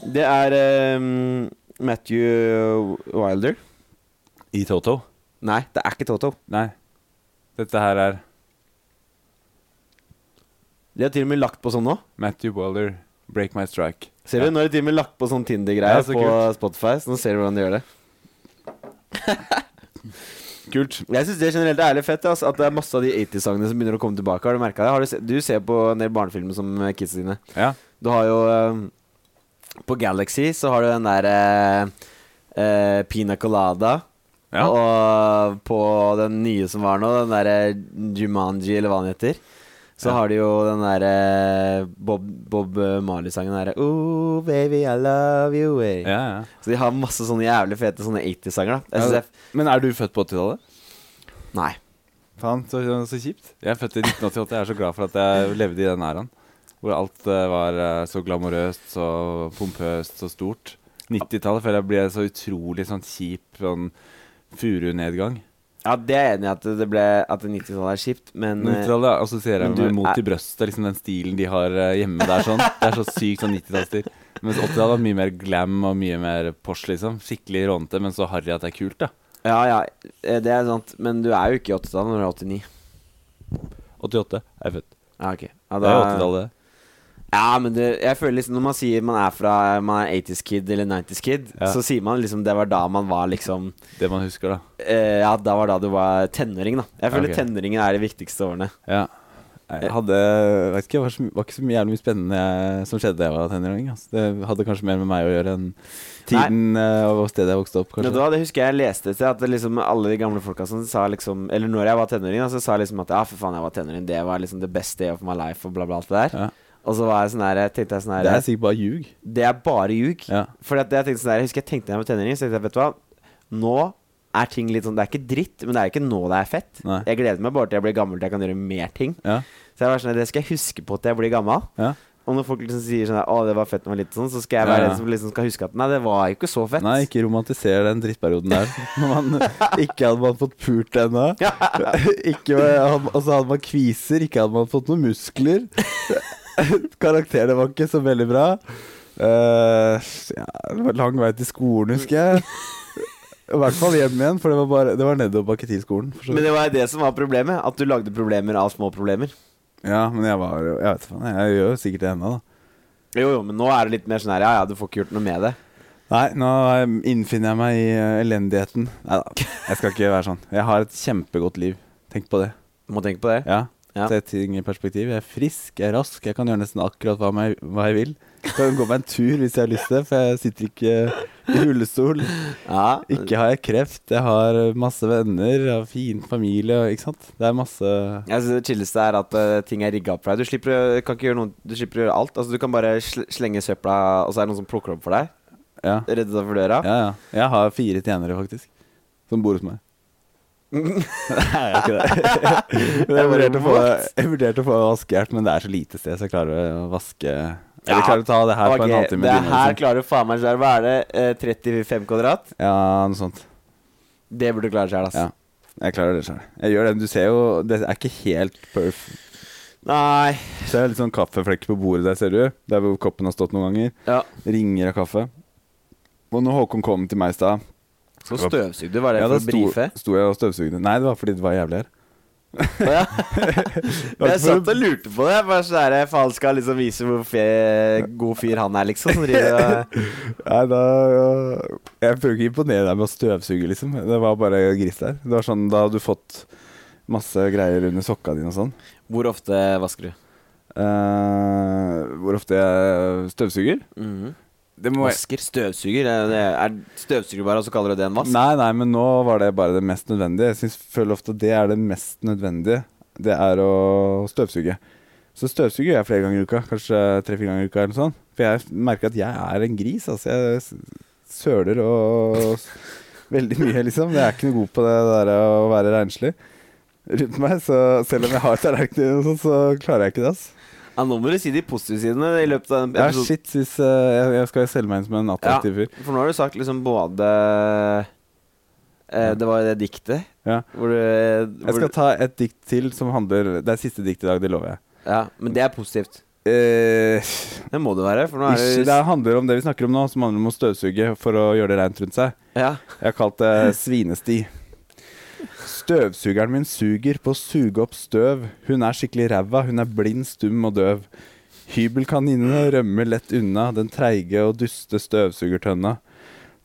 [SPEAKER 2] Det er ehm, Matthew Wilder.
[SPEAKER 1] I Toto?
[SPEAKER 2] Nei, det er ikke Toto.
[SPEAKER 1] Nei. Dette her er
[SPEAKER 2] De har til og med lagt på sånn nå.
[SPEAKER 1] Matthew Waller, 'Break My Strike'.
[SPEAKER 2] Ser du,
[SPEAKER 1] Ja.
[SPEAKER 2] Nå har de til og med lagt på sånn
[SPEAKER 1] Ja,
[SPEAKER 2] Tinder-greier
[SPEAKER 1] så
[SPEAKER 2] på
[SPEAKER 1] kult.
[SPEAKER 2] Spotify. Så nå ser du hvordan de gjør det.
[SPEAKER 1] Kult.
[SPEAKER 2] Jeg syns det generelt er ærlig fett ass, at det er masse av de 80-sangene som begynner å komme tilbake. Har Du merket det? Har du, se du ser på en del barnefilmer som eh, kidsa dine.
[SPEAKER 1] Ja.
[SPEAKER 2] Du har jo ehm, På Galaxy så har du den der eh, eh, Pina Colada.
[SPEAKER 1] Ja.
[SPEAKER 2] Og på den nye som var nå, den derre Jumanji, eller hva den heter, så
[SPEAKER 1] Ja.
[SPEAKER 2] har de jo den derre Bob, Bob Marley-sangen derre Oh, baby, I love you. eh».
[SPEAKER 1] Ja, ja.
[SPEAKER 2] Så de har masse sånne jævlig fete sånne 80-sanger, da. Jeg synes
[SPEAKER 1] Ja.
[SPEAKER 2] det er
[SPEAKER 1] Men er du født på 80-tallet?
[SPEAKER 2] f- Nei.
[SPEAKER 1] Faen, så, så kjipt. Jeg er født i 1988. Jeg er så glad for at jeg levde i den æraen. Hvor alt eh, var eh, så glamorøst, så pompøst, så stort. 90-tallet føler jeg ble så utrolig sånn kjip sånn furunedgang.
[SPEAKER 2] Ja, det er jeg enig i at det ble At 90-tallet er kjipt, men eh,
[SPEAKER 1] 90-tallet assosierer jeg
[SPEAKER 2] Men du
[SPEAKER 1] med mot
[SPEAKER 2] er-
[SPEAKER 1] i brøstet, liksom den stilen de har eh, hjemme der sånn. Det er så sykt sånn 90-tallsstil. Mens 80-tallet var mye mer glam og mye mer posh, liksom. Skikkelig rånete, men så harry at det er kult, da.
[SPEAKER 2] Ja, ja, eh, det er sant. Men du er jo ikke i 80-tallet når du er 89.
[SPEAKER 1] 88 er jeg født.
[SPEAKER 2] Ja, ok.
[SPEAKER 1] Det
[SPEAKER 2] Ja,
[SPEAKER 1] er
[SPEAKER 2] da-
[SPEAKER 1] 80-tallet.
[SPEAKER 2] Ja, men det, jeg føler liksom Når man sier man er fra Man er 80's kid eller 90's kid
[SPEAKER 1] Ja.
[SPEAKER 2] Så sier man liksom Det var da man var liksom
[SPEAKER 1] Det man husker, da.
[SPEAKER 2] eh, Ja, da var da du var tenåring da Jeg føler
[SPEAKER 1] Ok.
[SPEAKER 2] tenåringen er de viktigste årene
[SPEAKER 1] Ja. Jeg hadde vet ikke, det var, så, my- var ikke så mye, jævlig mye spennende eh, som skjedde da jeg var tenåring. ass. Det hadde kanskje mer med meg å gjøre enn tiden eh, og stedet jeg vokste opp,
[SPEAKER 2] Men
[SPEAKER 1] kanskje.
[SPEAKER 2] da, det husker jeg jeg leste etter At det liksom alle de gamle folka som sa liksom Eller når jeg var tenåring da Så sa jeg liksom at Ja, for faen jeg var tenåring Det var liksom the best day of my life Og bla bla alt det der
[SPEAKER 1] Ja.
[SPEAKER 2] Og så var jeg sånn der Tenkte jeg sånn der
[SPEAKER 1] det er sikkert bare ljug.
[SPEAKER 2] Det er bare ljug.
[SPEAKER 1] Ja.
[SPEAKER 2] Fordi at jeg tenkte sånn der, jeg husker jeg tenkte da jeg var tenåring, så tenkte jeg, vet du hva Nå er ting litt sånn Det er ikke dritt, men det er jo ikke nå det er fett.
[SPEAKER 1] Nei.
[SPEAKER 2] Jeg gleder meg bare til jeg blir gammel til jeg kan gjøre mer ting.
[SPEAKER 1] Ja.
[SPEAKER 2] Så jeg var sånn, det skal jeg huske på til jeg blir gammel.
[SPEAKER 1] Ja.
[SPEAKER 2] Og når folk liksom sier sånn der, Å, det var fett når jeg var liten, sånn, så skal jeg være
[SPEAKER 1] Ja.
[SPEAKER 2] den som liksom skal huske at Nei, det var jo ikke så fett.
[SPEAKER 1] Nei, ikke romantiser den drittperioden der. Når man ikke hadde man fått pult ennå. Ikke, altså hadde man kviser, ikke hadde man fått noen muskler. Karakterene var ikke så veldig bra. Eh, ja, det var lang vei til skolen, husker jeg. I hvert fall hjem igjen, for det var, bare, det var nedoverbakke til skolen. For så
[SPEAKER 2] Men det var jo det som var problemet. At du lagde problemer av små problemer.
[SPEAKER 1] Ja, men jeg var jo Jeg vet faen, jeg gjør jo sikkert det ennå, da.
[SPEAKER 2] Jo, jo, men nå er det litt mer sånn her Ja, ja, du får ikke gjort noe med det.
[SPEAKER 1] Nei, nå eh, innfinner jeg meg i eh, elendigheten. Nei da, jeg skal ikke være sånn. Jeg har et kjempegodt liv. Tenk på det.
[SPEAKER 2] Må tenke på det.
[SPEAKER 1] Ja.
[SPEAKER 2] Ja.
[SPEAKER 1] Se ting i perspektiv. Jeg er frisk, jeg er rask, jeg kan gjøre nesten akkurat hva, meg, hva jeg vil. Jeg kan gå meg en tur hvis jeg har lyst til det, for jeg sitter ikke i rullestol.
[SPEAKER 2] Ja.
[SPEAKER 1] Ikke har jeg kreft, jeg har masse venner, jeg har fin familie, ikke sant. Det er masse
[SPEAKER 2] Jeg synes Det chilleste er at eh, ting er rigga opp for deg. Du slipper, å- kan ikke gjøre noe, du slipper å gjøre alt. Altså, du kan bare sl slenge søpla, og så er det noen som plukker opp for deg.
[SPEAKER 1] Ja,
[SPEAKER 2] Redde deg for døra.
[SPEAKER 1] ja. ja. Jeg har fire tjenere, faktisk, som bor hos meg. Nei, jeg har ikke det. Men jeg
[SPEAKER 2] Jeg
[SPEAKER 1] vurderte å
[SPEAKER 2] bare,
[SPEAKER 1] få,
[SPEAKER 2] what?
[SPEAKER 1] jeg vurderte å få vaskehjelp, men det er så lite sted, så jeg klarer å vaske Eller
[SPEAKER 2] Ja.
[SPEAKER 1] klarer å ta det her på
[SPEAKER 2] Ok,
[SPEAKER 1] en halvtime.
[SPEAKER 2] det
[SPEAKER 1] time,
[SPEAKER 2] her
[SPEAKER 1] liksom.
[SPEAKER 2] klarer du faen meg sjøl. Hva er det? eh, 35 kvadrat?
[SPEAKER 1] Ja, noe sånt.
[SPEAKER 2] Det burde du klare sjøl, ass.
[SPEAKER 1] Ja. Jeg klarer det sjøl. Jeg gjør det. men Du ser jo Det er ikke helt perf.
[SPEAKER 2] Nei.
[SPEAKER 1] Så jeg har litt sånn kaffeflekker på bordet der, ser du. Der hvor koppen har stått noen ganger.
[SPEAKER 2] Ja.
[SPEAKER 1] Ringer av kaffe. Og når Håkon kom til meg i stad
[SPEAKER 2] Så støvsugd du, var det
[SPEAKER 1] ja, da
[SPEAKER 2] for å brife?
[SPEAKER 1] sto, sto jeg og støvsugde. Nei, det var fordi det var jævlig her.
[SPEAKER 2] Å, ja.
[SPEAKER 1] var ikke
[SPEAKER 2] jeg
[SPEAKER 1] for å-
[SPEAKER 2] satt og lurte på det. Jeg Bare sånn der, faen skal liksom vise hvor fe god fyr han er, liksom. Som driver og
[SPEAKER 1] Nei, da Jeg prøver ikke å imponere deg med å støvsuge, liksom. Det var bare gris der. Det var sånn, Da hadde du fått masse greier under sokka dine og sånn.
[SPEAKER 2] Hvor ofte vasker du?
[SPEAKER 1] Eh, hvor ofte jeg støvsuger?
[SPEAKER 2] Mhm.
[SPEAKER 1] Det må jeg
[SPEAKER 2] Vasker? Støvsuger? Er, det- er støvsuger bare, og så kaller du det en vask?
[SPEAKER 1] Nei, nei, men nå var det bare det mest nødvendige. Jeg synes, føler ofte det er det mest nødvendige. Det er å støvsuge. Så støvsuger jeg flere ganger i uka. Kanskje tre-fire ganger i uka. eller noe sånt. For jeg merker at jeg er en gris. altså. Jeg s- søler og s- veldig mye, liksom. Jeg er ikke noe god på det der å være renslig rundt meg. Så selv om jeg har tallerkener, og sånt, så klarer jeg ikke det. altså.
[SPEAKER 2] Ja, nå må du si de positive sidene i løpet av den
[SPEAKER 1] Ja,
[SPEAKER 2] episoden.
[SPEAKER 1] shit, hvis eh, jeg, jeg skal selge meg inn som en attraktiv fyr.
[SPEAKER 2] For nå har du sagt liksom både eh, Det var jo det diktet
[SPEAKER 1] Ja.
[SPEAKER 2] hvor du eh, hvor,
[SPEAKER 1] Jeg skal ta et dikt til som handler Det er siste dikt i dag, det lover jeg.
[SPEAKER 2] Ja, Men det er positivt.
[SPEAKER 1] Eh,
[SPEAKER 2] Det må det være, for nå er
[SPEAKER 1] Ikke,
[SPEAKER 2] det
[SPEAKER 1] det handler om det vi snakker om nå, som handler om å støvsuge for å gjøre det rent rundt seg.
[SPEAKER 2] Ja.
[SPEAKER 1] Jeg har kalt det svinesti. Støvsugeren min suger på å suge opp støv. Hun er skikkelig ræva, hun er blind, stum og døv. Hybelkaninene rømmer lett unna den treige og duste støvsugertønna.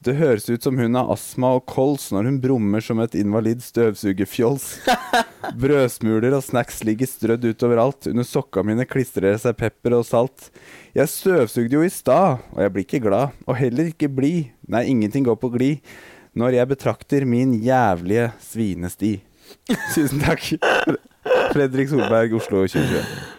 [SPEAKER 1] Det høres ut som hun har astma og kols når hun brummer som et invalid støvsugerfjols. Brødsmuler og snacks ligger strødd utover alt. Under sokka mine klistrer det seg pepper og salt. Jeg støvsugde jo i stad, og jeg blir ikke glad. Og heller ikke blid. Nei, ingenting går på glid. Når jeg betrakter min jævlige svinesti. Tusen takk. Fredrik Solberg, Oslo 2020.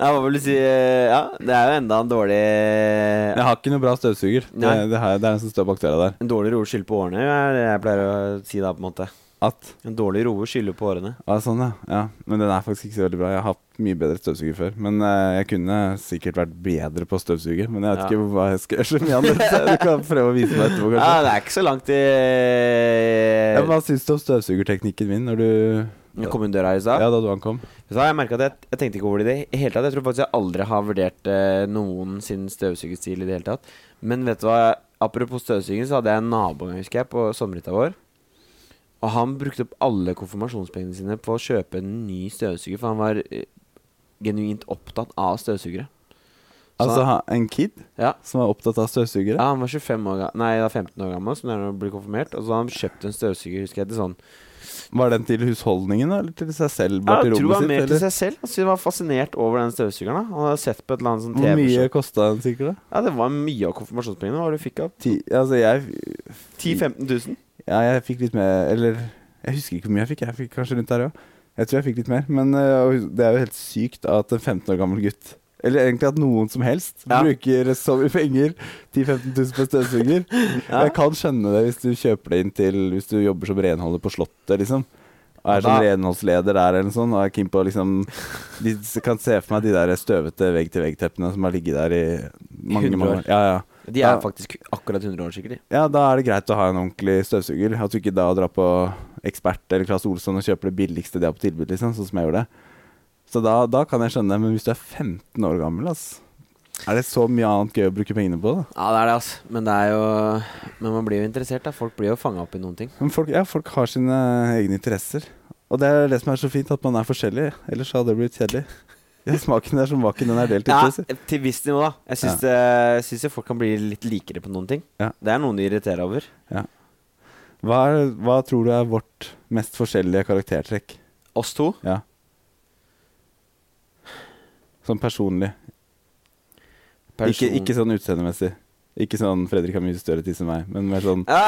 [SPEAKER 2] Ja, hva vil du si eh, Ja, det er jo enda en dårlig
[SPEAKER 1] Jeg har ikke noe bra støvsuger. Det,
[SPEAKER 2] Nei.
[SPEAKER 1] det, her, det er en som står bak døra der.
[SPEAKER 2] En dårlig roe skylder på årene, er det jeg pleier å si da, på en måte.
[SPEAKER 1] At
[SPEAKER 2] En dårlig roe skylder på årene.
[SPEAKER 1] Ja, sånn, ja. ja. Men den er faktisk ikke så veldig bra. Jeg har hatt mye bedre støvsuger før. Men eh, jeg kunne sikkert vært bedre på å støvsuge, men jeg vet
[SPEAKER 2] Ja.
[SPEAKER 1] ikke hva jeg skal gjøre så mye annet. Du kan prøve å vise meg etterpå,
[SPEAKER 2] Ja,
[SPEAKER 1] kanskje.
[SPEAKER 2] det er ikke så langt i
[SPEAKER 1] Ja, hva syns du om støvsugerteknikken min når du
[SPEAKER 2] Jeg Kom inn døra her i stad.
[SPEAKER 1] Ja, da du ankom?
[SPEAKER 2] Så har jeg merket at jeg, jeg tenkte ikke over det i det hele tatt. Jeg tror faktisk jeg aldri har vurdert eh, noen sin støvsugerstil i det hele tatt. Men vet du hva? Apropos støvsuging, så hadde jeg en nabo en gang, husker jeg, på sommerhytta vår. Og han brukte opp alle konfirmasjonspengene sine på å kjøpe en ny støvsuger, for han var eh, genuint opptatt av støvsugere. Så
[SPEAKER 1] Altså ha- en kid
[SPEAKER 2] Ja.
[SPEAKER 1] som er opptatt av
[SPEAKER 2] Ja,
[SPEAKER 1] støvsugere?
[SPEAKER 2] han var 25 år ga- Nei, da 15 år gammel, så når han ble konfirmert. Og så har han kjøpt en støvsuger, husker jeg, til sånn
[SPEAKER 1] Var den til husholdningen da, eller til seg selv?
[SPEAKER 2] Ja,
[SPEAKER 1] Bare
[SPEAKER 2] jeg
[SPEAKER 1] til
[SPEAKER 2] tror det
[SPEAKER 1] rommet
[SPEAKER 2] var
[SPEAKER 1] sitt?
[SPEAKER 2] mer til
[SPEAKER 1] Eller?
[SPEAKER 2] seg selv. Altså, jeg var fascinert over den støvsugeren. da Han hadde sett på et eller annet sånn
[SPEAKER 1] Hvor
[SPEAKER 2] TV-show.
[SPEAKER 1] mye kosta den sikkert? da?
[SPEAKER 2] Ja, det var mye av konfirmasjonspengene. Hva var det du fikk av?
[SPEAKER 1] Ti, altså, jeg
[SPEAKER 2] 10 000-15 000?
[SPEAKER 1] Ja, jeg fikk litt mer Eller jeg husker ikke hvor mye jeg fikk. Jeg fikk kanskje rundt der òg. Jeg tror jeg fikk litt mer. Men øh, og det er jo helt sykt at en 15 år gammel gutt eller egentlig at noen som helst
[SPEAKER 2] Ja.
[SPEAKER 1] bruker så mye penger. 10 000-15 000 på støvsuger.
[SPEAKER 2] Ja.
[SPEAKER 1] Jeg kan skjønne det hvis du kjøper det inn til Hvis du jobber som renholder på Slottet, liksom. Og er som
[SPEAKER 2] Da-
[SPEAKER 1] renholdsleder der eller noe sånt. Og er keen på liksom De s- kan se for meg de der støvete vegg-til-vegg-teppene som har ligget der i mange,
[SPEAKER 2] 100
[SPEAKER 1] mange
[SPEAKER 2] år.
[SPEAKER 1] år. Ja, ja.
[SPEAKER 2] De er
[SPEAKER 1] Ja.
[SPEAKER 2] faktisk akkurat 100 år, sikkert. de.
[SPEAKER 1] Ja, da er det greit å ha en ordentlig støvsuger. At du ikke da drar på Ekspert eller Claes Olsson og kjøper det billigste de har på tilbud, liksom, sånn som jeg gjorde. Så da, da kan jeg skjønne det, men hvis du er 15 år gammel, ass Er det så mye annet gøy å bruke pengene på, da?
[SPEAKER 2] Ja, det er det, altså. Men det er jo Men man blir jo interessert, da. Folk blir jo fanga opp i noen ting.
[SPEAKER 1] Men folk, ja, folk har sine egne interesser. Og det er det som er så fint, at man er forskjellig. Ellers så hadde det blitt kjedelig. Ja, smaken er som vaken, den er delt i to.
[SPEAKER 2] Ja,
[SPEAKER 1] sier.
[SPEAKER 2] til visst nivå, da. Jeg syns jeg syns jo folk kan bli litt likere på noen ting.
[SPEAKER 1] Ja.
[SPEAKER 2] Det er noen de irriterer over.
[SPEAKER 1] Hva, er- hva tror du er vårt mest forskjellige karaktertrekk?
[SPEAKER 2] Oss to.
[SPEAKER 1] Ja. Sånn personlig. Ikke,
[SPEAKER 2] Person-
[SPEAKER 1] ikke sånn utseendemessig. Ikke sånn Fredrik har mye større tiss enn meg, men mer sånn
[SPEAKER 2] ja,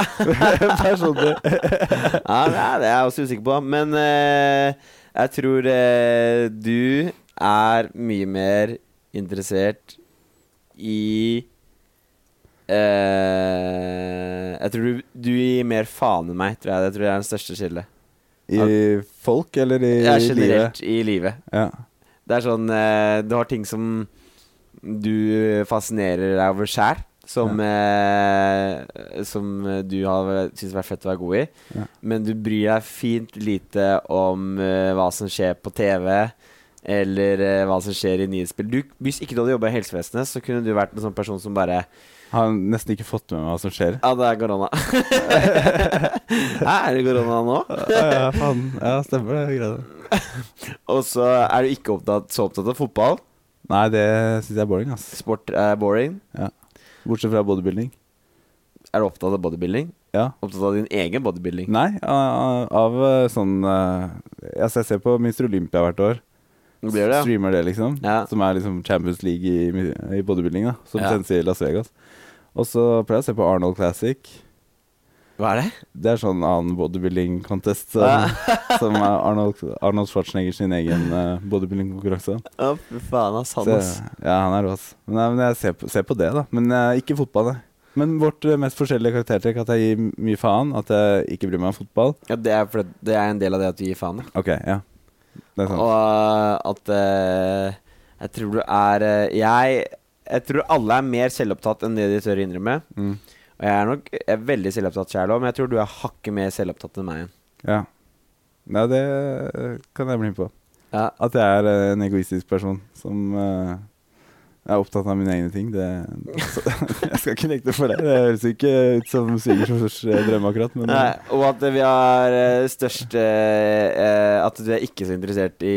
[SPEAKER 1] personlig.
[SPEAKER 2] det er, det er jeg også usikker på. Men eh, jeg tror eh, du er mye mer interessert i eh, Jeg tror du, du gir mer faen enn meg, tror jeg. Det tror jeg er den største skillet.
[SPEAKER 1] I folk eller i
[SPEAKER 2] Ja,
[SPEAKER 1] livet?
[SPEAKER 2] generelt i livet.
[SPEAKER 1] Ja.
[SPEAKER 2] Det er sånn eh, Du har ting som du fascinerer deg over sjæl. Som, eh, som du har syns har vært fett å være god i.
[SPEAKER 1] Ja.
[SPEAKER 2] Men du bryr deg fint lite om eh, hva som skjer på TV, eller eh, hva som skjer i nyhetsspill. Du, hvis ikke du hadde jobba i helsevesenet, så kunne du vært en sånn person som bare
[SPEAKER 1] Har nesten ikke fått med meg hva som skjer.
[SPEAKER 2] Ja, det er korona. Hæ, er det korona nå?
[SPEAKER 1] Ja, ja, faen. ja stemmer det. Greia. det.
[SPEAKER 2] Og så er du ikke opptatt, så opptatt av fotball.
[SPEAKER 1] Nei, det syns jeg er boring, ass.
[SPEAKER 2] Sport er boring.
[SPEAKER 1] Bortsett fra bodybuilding.
[SPEAKER 2] Er du opptatt av bodybuilding?
[SPEAKER 1] Ja.
[SPEAKER 2] Opptatt av din egen bodybuilding?
[SPEAKER 1] Nei, av, av eh, sånn eh, Altså, jeg ser på Mr. Olympia hvert år.
[SPEAKER 2] Det blir det, ja.
[SPEAKER 1] Streamer det, liksom.
[SPEAKER 2] Ja.
[SPEAKER 1] Som er liksom Champions League i, i bodybuilding, da. Som
[SPEAKER 2] Ja.
[SPEAKER 1] sendes i Las Vegas. Og så pleier jeg å se på Arnold Classic.
[SPEAKER 2] Hva er det?
[SPEAKER 1] Det er sånn annen bodybuilding contest som,
[SPEAKER 2] Ja.
[SPEAKER 1] som er Arnold, Arnold Schwarzenegger sin egen eh, bodybuilding konkurranse.
[SPEAKER 2] Å, fy faen, ass. Han,
[SPEAKER 1] Så-
[SPEAKER 2] ass.
[SPEAKER 1] Ja, han er rå, ass. Men, nei, men jeg ser på, ser på det, da. Men eh, ikke fotball, nei. Men vårt eh, mest forskjellige karaktertrekk at jeg gir m- mye faen. At jeg ikke bryr meg om fotball.
[SPEAKER 2] Ja, det er, fordi- det er en del av det at du gir faen. da.
[SPEAKER 1] Ok, ja. Det er sant.
[SPEAKER 2] Og at eh, Jeg tror du er eh, Jeg Jeg tror alle er mer selvopptatt enn det de tør å innrømme.
[SPEAKER 1] Mm.
[SPEAKER 2] Og jeg er nok jeg er veldig selvopptatt sjæl òg, men jeg tror du er hakket mer selvopptatt enn meg igjen.
[SPEAKER 1] Ja. Nei, det eh, kan jeg bli med på.
[SPEAKER 2] Ja.
[SPEAKER 1] At jeg er eh, en egoistisk person som eh, er opptatt av mine egne ting. Det, så, jeg skal ikke nekte for det. Det høres jo ikke ut som svigersors eh, drøm akkurat, men
[SPEAKER 2] Nei, Eh, og at vi har eh, størst eh, eh, At du er ikke så interessert i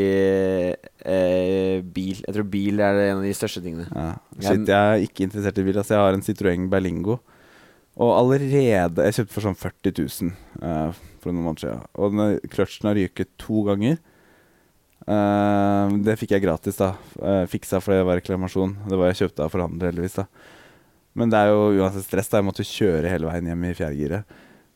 [SPEAKER 2] eh, bil. Jeg tror bil er en av de største tingene.
[SPEAKER 1] ja. Shit, jeg er ikke interessert i bil. Altså, jeg har en Citroën Berlingo. Og allerede Jeg kjøpte for sånn 40 000 eh, for noen måneder siden. Og den kløtsjen har ryket to ganger. Eh, det fikk jeg gratis, da. Eh, fiksa fordi det var reklamasjon. Det var jeg kjøpte av forhandler, heldigvis. da Men det er jo uansett stress. da Jeg måtte kjøre hele veien hjem i fjerdegiret.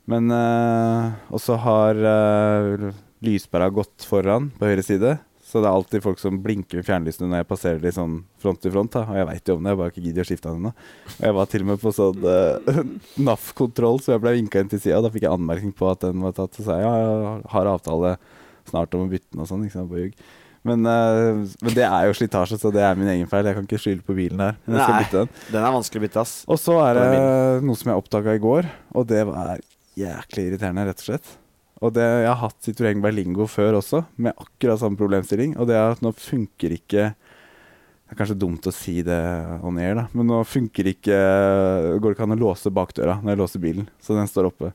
[SPEAKER 1] Men eh, Og så har eh, lyspæra gått foran på høyre side. Så det er alltid folk som blinker med fjernlysene når jeg passerer de sånn front til front. Da. Og jeg veit jo om det, jeg bare ikke gidder å skifte den ennå. Og jeg var til og med på sånn eh, NAF-kontroll, så jeg ble vinka inn til sida. Da fikk jeg anmerkning på at den var tatt. Så sa jeg ja, jeg har avtale snart om å bytte den og sånn. Ikke sant, på ljug. Men, eh, men det er jo slitasje, så det er min egen feil. Jeg kan ikke skylde på bilen her. Men jeg skal
[SPEAKER 2] Nei.
[SPEAKER 1] bytte den.
[SPEAKER 2] Den er vanskelig å bytte, ass.
[SPEAKER 1] Og så er
[SPEAKER 2] Og
[SPEAKER 1] det
[SPEAKER 2] det
[SPEAKER 1] noe som jeg oppdaga i går, og det er jæklig irriterende, rett og slett. Og det, Jeg har hatt Citroën Berlingo før også, med akkurat samme problemstilling. Og det er at nå funker ikke Det er kanskje dumt å si det on air, da, men nå funker ikke Går det ikke an å låse bakdøra når jeg låser bilen, så den står oppe.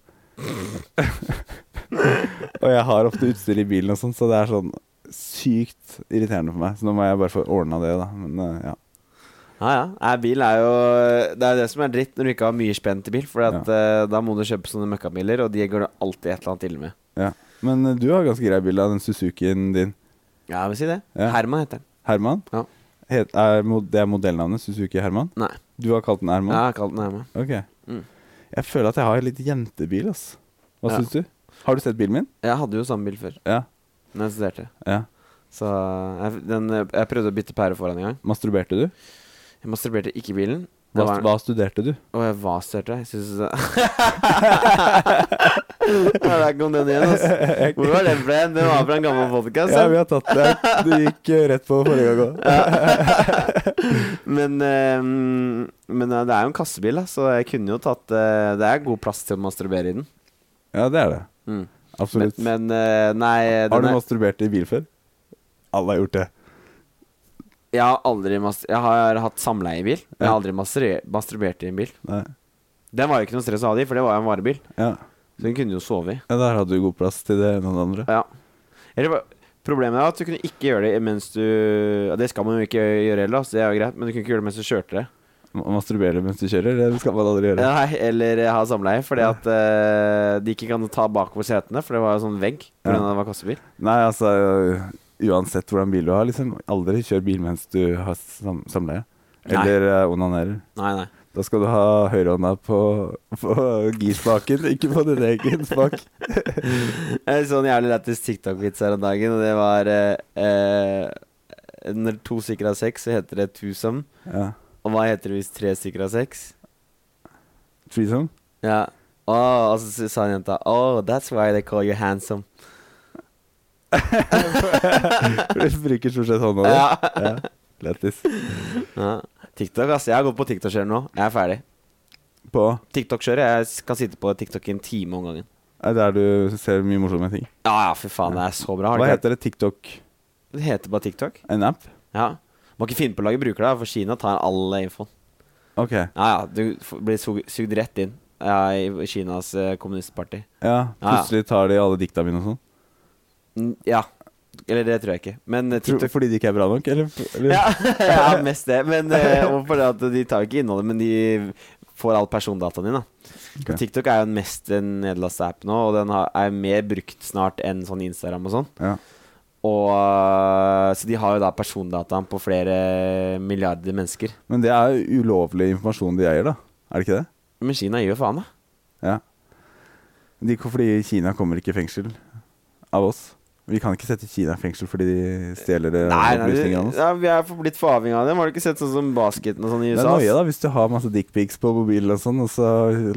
[SPEAKER 1] og jeg har ofte utstyr i bilen og sånn, så det er sånn sykt irriterende for meg. Så nå må jeg bare få ordna det, da. Men eh, ja.
[SPEAKER 2] Ja, ja. Nei, bil er jo Det er det som er dritt når du ikke har mye spenn til bil. For at, eh, da må du kjøpe sånne møkkabiler, og de går det alltid et eller annet ille med.
[SPEAKER 1] Men eh, du har ganske grei bil av den Suzukien din.
[SPEAKER 2] Ja, jeg vil si det.
[SPEAKER 1] Ja.
[SPEAKER 2] Herman heter den.
[SPEAKER 1] Herman?
[SPEAKER 2] Ja.
[SPEAKER 1] Het, er, mod- det er modellnavnet Suzuki Herman?
[SPEAKER 2] Nei.
[SPEAKER 1] Du har kalt den Herman?
[SPEAKER 2] Ja, jeg har kalt den Herman.
[SPEAKER 1] Ok.
[SPEAKER 2] Mm.
[SPEAKER 1] Jeg føler at jeg har litt jentebil, ass. Hva
[SPEAKER 2] Ja.
[SPEAKER 1] syns du? Har du sett bilen min?
[SPEAKER 2] Jeg hadde jo samme bil før
[SPEAKER 1] Ja.
[SPEAKER 2] Når jeg studerte.
[SPEAKER 1] ja.
[SPEAKER 2] Så jeg, den, jeg prøvde å bytte pære foran en gang.
[SPEAKER 1] Masturberte du?
[SPEAKER 2] Jeg masturberte ikke i bilen. Det
[SPEAKER 1] Hva,
[SPEAKER 2] var-
[SPEAKER 1] hva studerte du?
[SPEAKER 2] Og jeg var studerte. Jeg syns Ja, Der kom den igjen, ass. Hvor var den fra? Den var fra en gammel podkast.
[SPEAKER 1] Ja, vi har tatt det. Du gikk eh, rett på forrige gang òg.
[SPEAKER 2] men eh, mm, men eh, det er jo en kassebil, da, så jeg kunne jo tatt eh, Det er god plass til å masturbere i den.
[SPEAKER 1] Ja, det er det.
[SPEAKER 2] Mm. Men,
[SPEAKER 1] Absolutt.
[SPEAKER 2] men eh, nei
[SPEAKER 1] har
[SPEAKER 2] den
[SPEAKER 1] du
[SPEAKER 2] er,
[SPEAKER 1] masturbert i bil før? Alle har gjort det.
[SPEAKER 2] Jeg har aldri mas Jeg har hatt samleie i bil. men Jeg har
[SPEAKER 1] Ja.
[SPEAKER 2] aldri mastre- masturbert i en bil.
[SPEAKER 1] Nei.
[SPEAKER 2] Den var jo ikke noe stress å ha det i, for det var jo en varebil.
[SPEAKER 1] Ja.
[SPEAKER 2] Så den kunne jo sove i.
[SPEAKER 1] ja, der hadde du god plass til det ene og det andre.
[SPEAKER 2] Ja. Eller, hva- problemet er at du kunne ikke gjøre det mens du ja, Det skal man jo ikke gjøre heller, da, så det er jo greit, men du kunne ikke gjøre det mens du kjørte det.
[SPEAKER 1] Ma- Masturbere mens du kjører, det skal man aldri gjøre.
[SPEAKER 2] Nei, eller eh, ha samleie, fordi at eh, de ikke kan ta bakover setene, for det var jo sånn vegg
[SPEAKER 1] Ja.
[SPEAKER 2] pga. at det var kassebil.
[SPEAKER 1] Nei, altså Uansett hvordan bil du har, liksom. Aldri kjør bil mens du har sam samleie.
[SPEAKER 2] Nei.
[SPEAKER 1] Eller eh, onanerer.
[SPEAKER 2] Nei, nei.
[SPEAKER 1] Da skal du ha høyrehånda på, på girspaken, ikke på din egen spak.
[SPEAKER 2] Jeg så en sånn jævlig lættis TikTok-vits her om dagen, og det var eh, eh, Når to stykker har sex, så heter det twosome.
[SPEAKER 1] Ja.
[SPEAKER 2] Og hva heter det hvis tre stykker har sex?
[SPEAKER 1] Threesome?
[SPEAKER 2] Ja. Åh, og så sa en jenta Oh, that's why they call you handsome.
[SPEAKER 1] Du bruker stort sett hånda di.
[SPEAKER 2] Ja.
[SPEAKER 1] Ja. Lættis.
[SPEAKER 2] Ja. TikTok, ass. Jeg har gått på TikTok-kjøret nå. Jeg er ferdig.
[SPEAKER 1] På
[SPEAKER 2] TikTok-kjøret, Jeg skal sitte på TikTok i en time om gangen.
[SPEAKER 1] er der du ser mye morsomme ting.
[SPEAKER 2] Ja, ja, fy faen. Det er så bra. Har
[SPEAKER 1] Hva
[SPEAKER 2] du ikke-
[SPEAKER 1] heter det? TikTok?
[SPEAKER 2] Det heter bare TikTok.
[SPEAKER 1] En app?
[SPEAKER 2] Ja. Må ikke finne på å lage brukere, da, for Kina tar all infoen.
[SPEAKER 1] Ok.
[SPEAKER 2] Ja, ja. Du f- blir sug- sugd rett inn ja, i Kinas eh, kommunistparti.
[SPEAKER 1] Ja, plutselig tar de alle dikta mine og sånn.
[SPEAKER 2] Mm, Ja. Eller det tror jeg ikke. Men eh,
[SPEAKER 1] Tror-
[SPEAKER 2] TikTok
[SPEAKER 1] Fordi de ikke er bra nok, eller? eller?
[SPEAKER 2] Ja, ja mest det. Men eh, og for det at de tar jo ikke innholdet, men de får all persondataen din. da
[SPEAKER 1] Ok.
[SPEAKER 2] Og TikTok er jo den mest eh, nedlasta app nå, og den har, er mer brukt snart enn sånn Instagram og sånn.
[SPEAKER 1] Ja.
[SPEAKER 2] Og eh, Så de har jo da persondataen på flere milliarder mennesker.
[SPEAKER 1] Men det er jo ulovlig informasjon de eier, da. Er det ikke det?
[SPEAKER 2] Men Kina gir jo faen, da.
[SPEAKER 1] Ja. De, fordi Kina kommer ikke i fengsel av oss. Vi kan ikke sette Kina i fengsel fordi de stjeler eh,
[SPEAKER 2] Nei, nei du,
[SPEAKER 1] opplysningene hans.
[SPEAKER 2] ja, vi er for- blitt for avhengig av dem. Har du ikke sett sånn som basketen og sånn i
[SPEAKER 1] Det er
[SPEAKER 2] USA?
[SPEAKER 1] nøye
[SPEAKER 2] ass?
[SPEAKER 1] da, hvis du har masse dickpics på mobilen og sånn, og så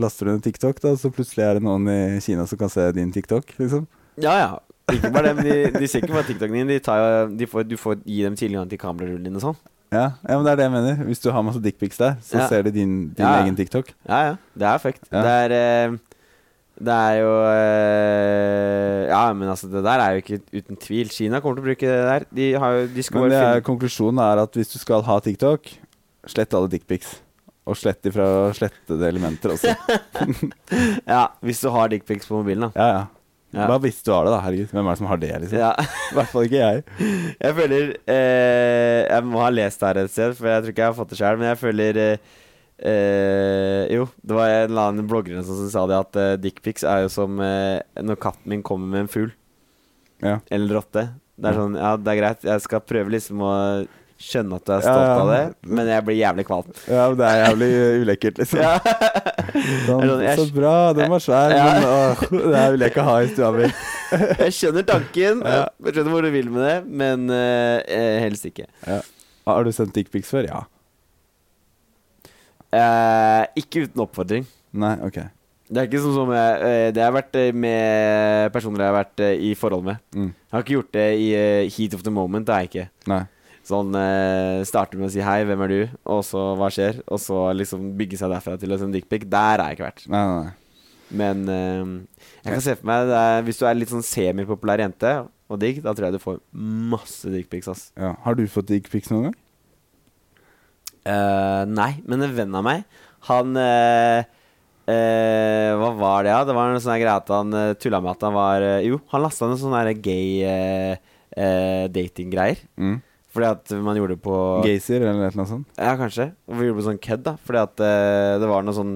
[SPEAKER 1] laster du ned TikTok, da, og så plutselig er det noen i Kina som kan se din TikTok, liksom.
[SPEAKER 2] Ja, ja. Ikke bare det, men de, de ser ikke bare TikToken din. De tar, jo- de får, du får gi dem tilgang til kamerarullen din og sånn.
[SPEAKER 1] Ja, ja, men det er det jeg mener. Hvis du har masse dickpics der, så
[SPEAKER 2] Ja.
[SPEAKER 1] ser de din, din
[SPEAKER 2] Ja.
[SPEAKER 1] egen TikTok.
[SPEAKER 2] Ja, ja. Det er fucked.
[SPEAKER 1] Ja.
[SPEAKER 2] Det er eh, Det er jo eh, Ja, men altså, det der er jo ikke uten tvil. Kina kommer til å bruke det der. De, har jo, de skal
[SPEAKER 1] Men det
[SPEAKER 2] bare
[SPEAKER 1] er,
[SPEAKER 2] finne
[SPEAKER 1] konklusjonen er at hvis du skal ha TikTok, slett alle dickpics. Og slett ifra slettede elementer også.
[SPEAKER 2] Ja, hvis du har dickpics på mobilen, da.
[SPEAKER 1] Ja, ja.
[SPEAKER 2] Ja.
[SPEAKER 1] Bare hvis du har det, da. Herregud, hvem er det som har det, liksom?
[SPEAKER 2] Ja.
[SPEAKER 1] I hvert fall ikke jeg.
[SPEAKER 2] Jeg føler eh, Jeg må ha lest det her et sted, for jeg tror ikke jeg har fått det sjøl. Men jeg føler eh, eh, Jo, det var en eller annen blogger eller noe sånt som sa det, at eh, dickpics er jo som eh, når katten min kommer med en fugl
[SPEAKER 1] Ja.
[SPEAKER 2] eller rotte. Det er
[SPEAKER 1] Ja.
[SPEAKER 2] sånn Ja, det er greit, jeg skal prøve liksom å Skjønner at du er
[SPEAKER 1] Ja,
[SPEAKER 2] stolt av det,
[SPEAKER 1] ja.
[SPEAKER 2] men jeg blir jævlig kvalm.
[SPEAKER 1] Ja, men det er jævlig eh, ulekkert, liksom.
[SPEAKER 2] Ja.
[SPEAKER 1] Sånn,
[SPEAKER 2] Jeg-
[SPEAKER 1] så bra, den var svær,
[SPEAKER 2] Ja.
[SPEAKER 1] men åh, det her vil jeg ikke ha i stua mi.
[SPEAKER 2] Jeg skjønner tanken,
[SPEAKER 1] Ja.
[SPEAKER 2] jeg skjønner hvor du vil med det, men eh, eh, helst ikke.
[SPEAKER 1] Har du sendt dickpics før? Ja.
[SPEAKER 2] Eh, ikke uten oppfordring.
[SPEAKER 1] Nei, ok.
[SPEAKER 2] Det er ikke sånn som jeg, eh, Det har vært eh, med personer jeg har vært eh, i forhold med.
[SPEAKER 1] Mm.
[SPEAKER 2] Jeg har ikke gjort det i eh, heat of the moment. Det har jeg ikke.
[SPEAKER 1] Nei.
[SPEAKER 2] Sånn eh, starter med å si 'hei, hvem er du?' og så 'hva skjer?' og så liksom bygge seg derfra til å sende dickpic. Der har jeg ikke vært.
[SPEAKER 1] Nei, nei, nei.
[SPEAKER 2] Men eh, jeg kan se for meg det er, hvis du er litt sånn semipopulær jente og digg, da tror jeg du får masse dickpics, ass.
[SPEAKER 1] Ja. Har du fått dickpics noen gang?
[SPEAKER 2] Eh, nei, men en venn av meg, han eh, eh, Hva var det, da? Det var en sånn her greie at han uh, tulla med at han var eh, Jo, han lasta ned sånne her gay eh, eh, datinggreier.
[SPEAKER 1] Mm.
[SPEAKER 2] Fordi at man gjorde det på
[SPEAKER 1] Gaysir eller et eller annet sånt?
[SPEAKER 2] Ja, kanskje. Vi gjorde det på sånn kødd, da. Fordi at eh, det var noe sånn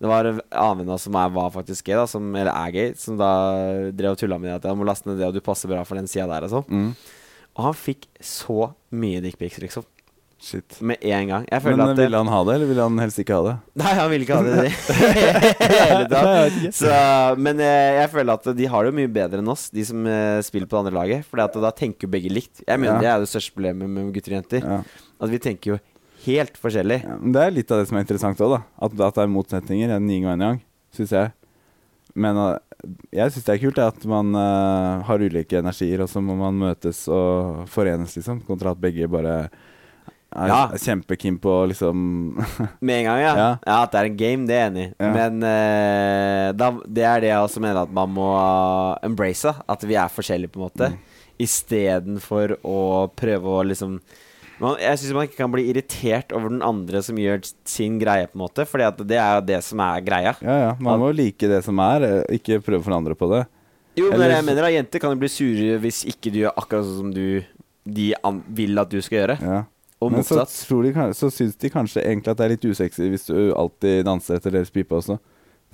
[SPEAKER 2] Det var en annen venn av oss som er, var faktisk gay, da, som, eller er gay, som da drev og tulla med det at han må laste ned det, og du passer bra for den sida der og sånn.
[SPEAKER 1] Mm.
[SPEAKER 2] Og han fikk så mye dickpics, liksom.
[SPEAKER 1] Shit.
[SPEAKER 2] Med en gang. Jeg føler
[SPEAKER 1] Men
[SPEAKER 2] at det-
[SPEAKER 1] ville han ha det, eller ville han helst ikke ha det?
[SPEAKER 2] Nei, han ville ikke ha det i det hele
[SPEAKER 1] Nei,
[SPEAKER 2] tatt.
[SPEAKER 1] jeg vet ikke.
[SPEAKER 2] Så, men eh, jeg føler at de har det jo mye bedre enn oss, de som eh, spiller på det andre laget. For da tenker jo begge likt. Jeg mener
[SPEAKER 1] Ja.
[SPEAKER 2] Det er det største problemet med gutter og jenter.
[SPEAKER 1] Ja.
[SPEAKER 2] At vi tenker jo helt forskjellig.
[SPEAKER 1] Ja, men det er litt av det som er interessant òg, da. At, at det er motsetninger en yin og en yang, syns jeg. Men eh, jeg syns det er kult det, at man eh, har ulike energier, og så må man møtes og forenes, liksom. Kontra at begge bare er
[SPEAKER 2] Ja.
[SPEAKER 1] kjempekeen på å liksom
[SPEAKER 2] Med en gang, ja. ja.
[SPEAKER 1] Ja.
[SPEAKER 2] At det er en game, det er jeg enig i.
[SPEAKER 1] Ja.
[SPEAKER 2] Men eh, da, det er det jeg også mener at man må eh, embrace. da. At vi er forskjellige, på en måte.
[SPEAKER 1] Mm.
[SPEAKER 2] Istedenfor å prøve å liksom man, Jeg syns man ikke kan bli irritert over den andre som gjør sin greie, på en måte. Fordi at det er jo det som er greia.
[SPEAKER 1] Ja ja, man må like det som er, eh, ikke prøve å forandre på det.
[SPEAKER 2] Jo, men
[SPEAKER 1] Eller
[SPEAKER 2] jeg
[SPEAKER 1] så-
[SPEAKER 2] mener da, jenter kan jo bli sure hvis ikke du gjør akkurat sånn som du de an vil at du skal gjøre.
[SPEAKER 1] Ja.
[SPEAKER 2] Og
[SPEAKER 1] Men så,
[SPEAKER 2] motsatt.
[SPEAKER 1] tror de, kan- så syns de kanskje egentlig at det er litt usexy hvis du alltid danser etter deres pipe også,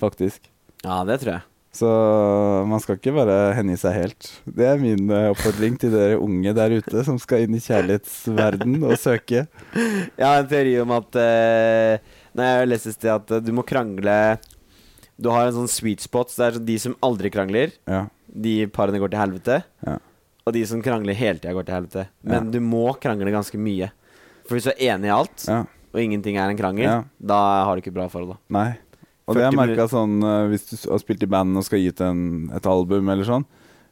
[SPEAKER 1] faktisk.
[SPEAKER 2] Ja, det tror jeg.
[SPEAKER 1] Så man skal ikke bare hengi seg helt. Det er min eh, oppfordring til dere unge der ute som skal inn i kjærlighetsverden og søke.
[SPEAKER 2] Jeg har en teori om at eh, Når jeg leste et sted at eh, du må krangle Du har en sånn sweet spot Så det er sånn de som aldri krangler
[SPEAKER 1] Ja.
[SPEAKER 2] De parene går til helvete
[SPEAKER 1] Ja.
[SPEAKER 2] Og de som krangler hele tiden går til helvete Men
[SPEAKER 1] Ja.
[SPEAKER 2] du må krangle ganske mye For hvis du er enig i alt
[SPEAKER 1] ja.
[SPEAKER 2] Og ingenting er en krangel
[SPEAKER 1] Ja.
[SPEAKER 2] Da har du ikke bra forhold da
[SPEAKER 1] Nei. Og det har jeg
[SPEAKER 2] 40
[SPEAKER 1] merka sånn eh, hvis du s- har spilt i band og skal gi ut en, et album eller sånn.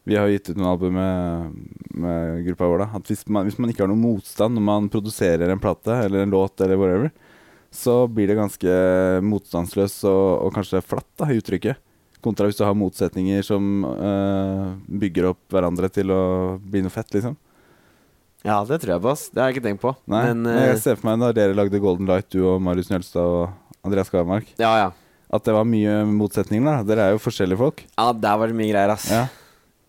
[SPEAKER 1] Vi har gitt ut noen album med, med gruppa vår, da. At hvis man, hvis man ikke har noen motstand når man produserer en plate eller en låt eller whatever, så blir det ganske motstandsløs og, og kanskje flatt da, i uttrykket. Kontra hvis du har motsetninger som eh, bygger opp hverandre til å bli noe fett, liksom.
[SPEAKER 2] Ja, det tror jeg på ass Det har jeg ikke tenkt på
[SPEAKER 1] Nei,
[SPEAKER 2] Men
[SPEAKER 1] men
[SPEAKER 2] eh,
[SPEAKER 1] jeg ser for meg da dere lagde Golden Light, du og Marius Njølstad og Andreas Garmark,
[SPEAKER 2] ja, ja
[SPEAKER 1] at det var mye motsetninger. da Dere er jo forskjellige folk.
[SPEAKER 2] Ja, der var det mye greier ass
[SPEAKER 1] Ja.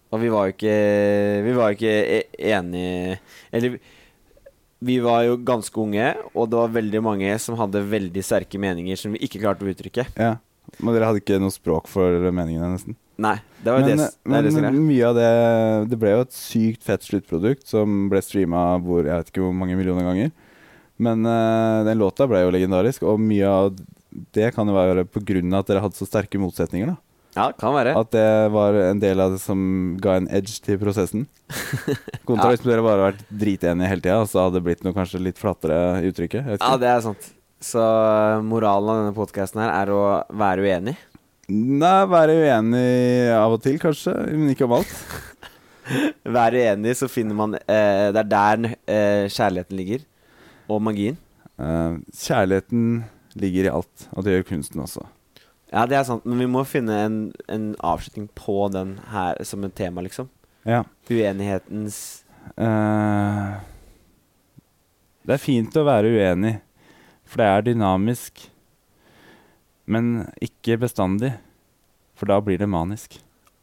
[SPEAKER 2] Og vi var jo ikke Vi var jo ikke e- enige Eller vi var jo ganske unge, og det var veldig mange som hadde veldig sterke meninger som vi ikke klarte å uttrykke.
[SPEAKER 1] ja. Men dere hadde ikke noe språk for meningene, nesten.
[SPEAKER 2] Nei, det var jo
[SPEAKER 1] Men,
[SPEAKER 2] det, s- det, er det som er
[SPEAKER 1] men
[SPEAKER 2] greia.
[SPEAKER 1] mye av det Det ble jo et sykt fett sluttprodukt som ble streama hvor jeg vet ikke hvor mange millioner ganger. Men eh, den låta ble jo legendarisk, og mye av det kan jo være på grunn av at dere hadde så sterke motsetninger. da
[SPEAKER 2] Ja, kan være.
[SPEAKER 1] At det var en del av det som ga en edge til prosessen. Kontra hvis dere bare hadde vært dritenige hele tida, så hadde det blitt noe kanskje litt flatere i uttrykket. Jeg vet
[SPEAKER 2] Ja,
[SPEAKER 1] ikke.
[SPEAKER 2] det er sant. Så eh, moralen av denne podkasten her er å være uenig.
[SPEAKER 1] Nei, være uenig av og til, kanskje, men ikke om alt.
[SPEAKER 2] Være uenig, så finner man eh, Det er der eh, kjærligheten ligger. Og magien.
[SPEAKER 1] Eh, kjærligheten ligger i alt, og det gjør kunsten også.
[SPEAKER 2] Ja, det er sant, men vi må finne en, en avslutning på den her som et tema, liksom.
[SPEAKER 1] Ja.
[SPEAKER 2] Uenighetens
[SPEAKER 1] eh, det er fint å være uenig, for det er dynamisk. Men ikke bestandig, for da blir det manisk.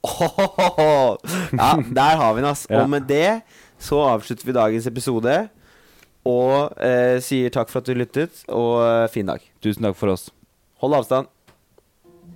[SPEAKER 2] Ohohoho! Ja, der har vi den, ass.
[SPEAKER 1] Ja.
[SPEAKER 2] Og med det så avslutter vi dagens episode. Og eh, sier takk for at du lyttet, og eh, fin dag.
[SPEAKER 1] Tusen takk for oss.
[SPEAKER 2] Hold avstand.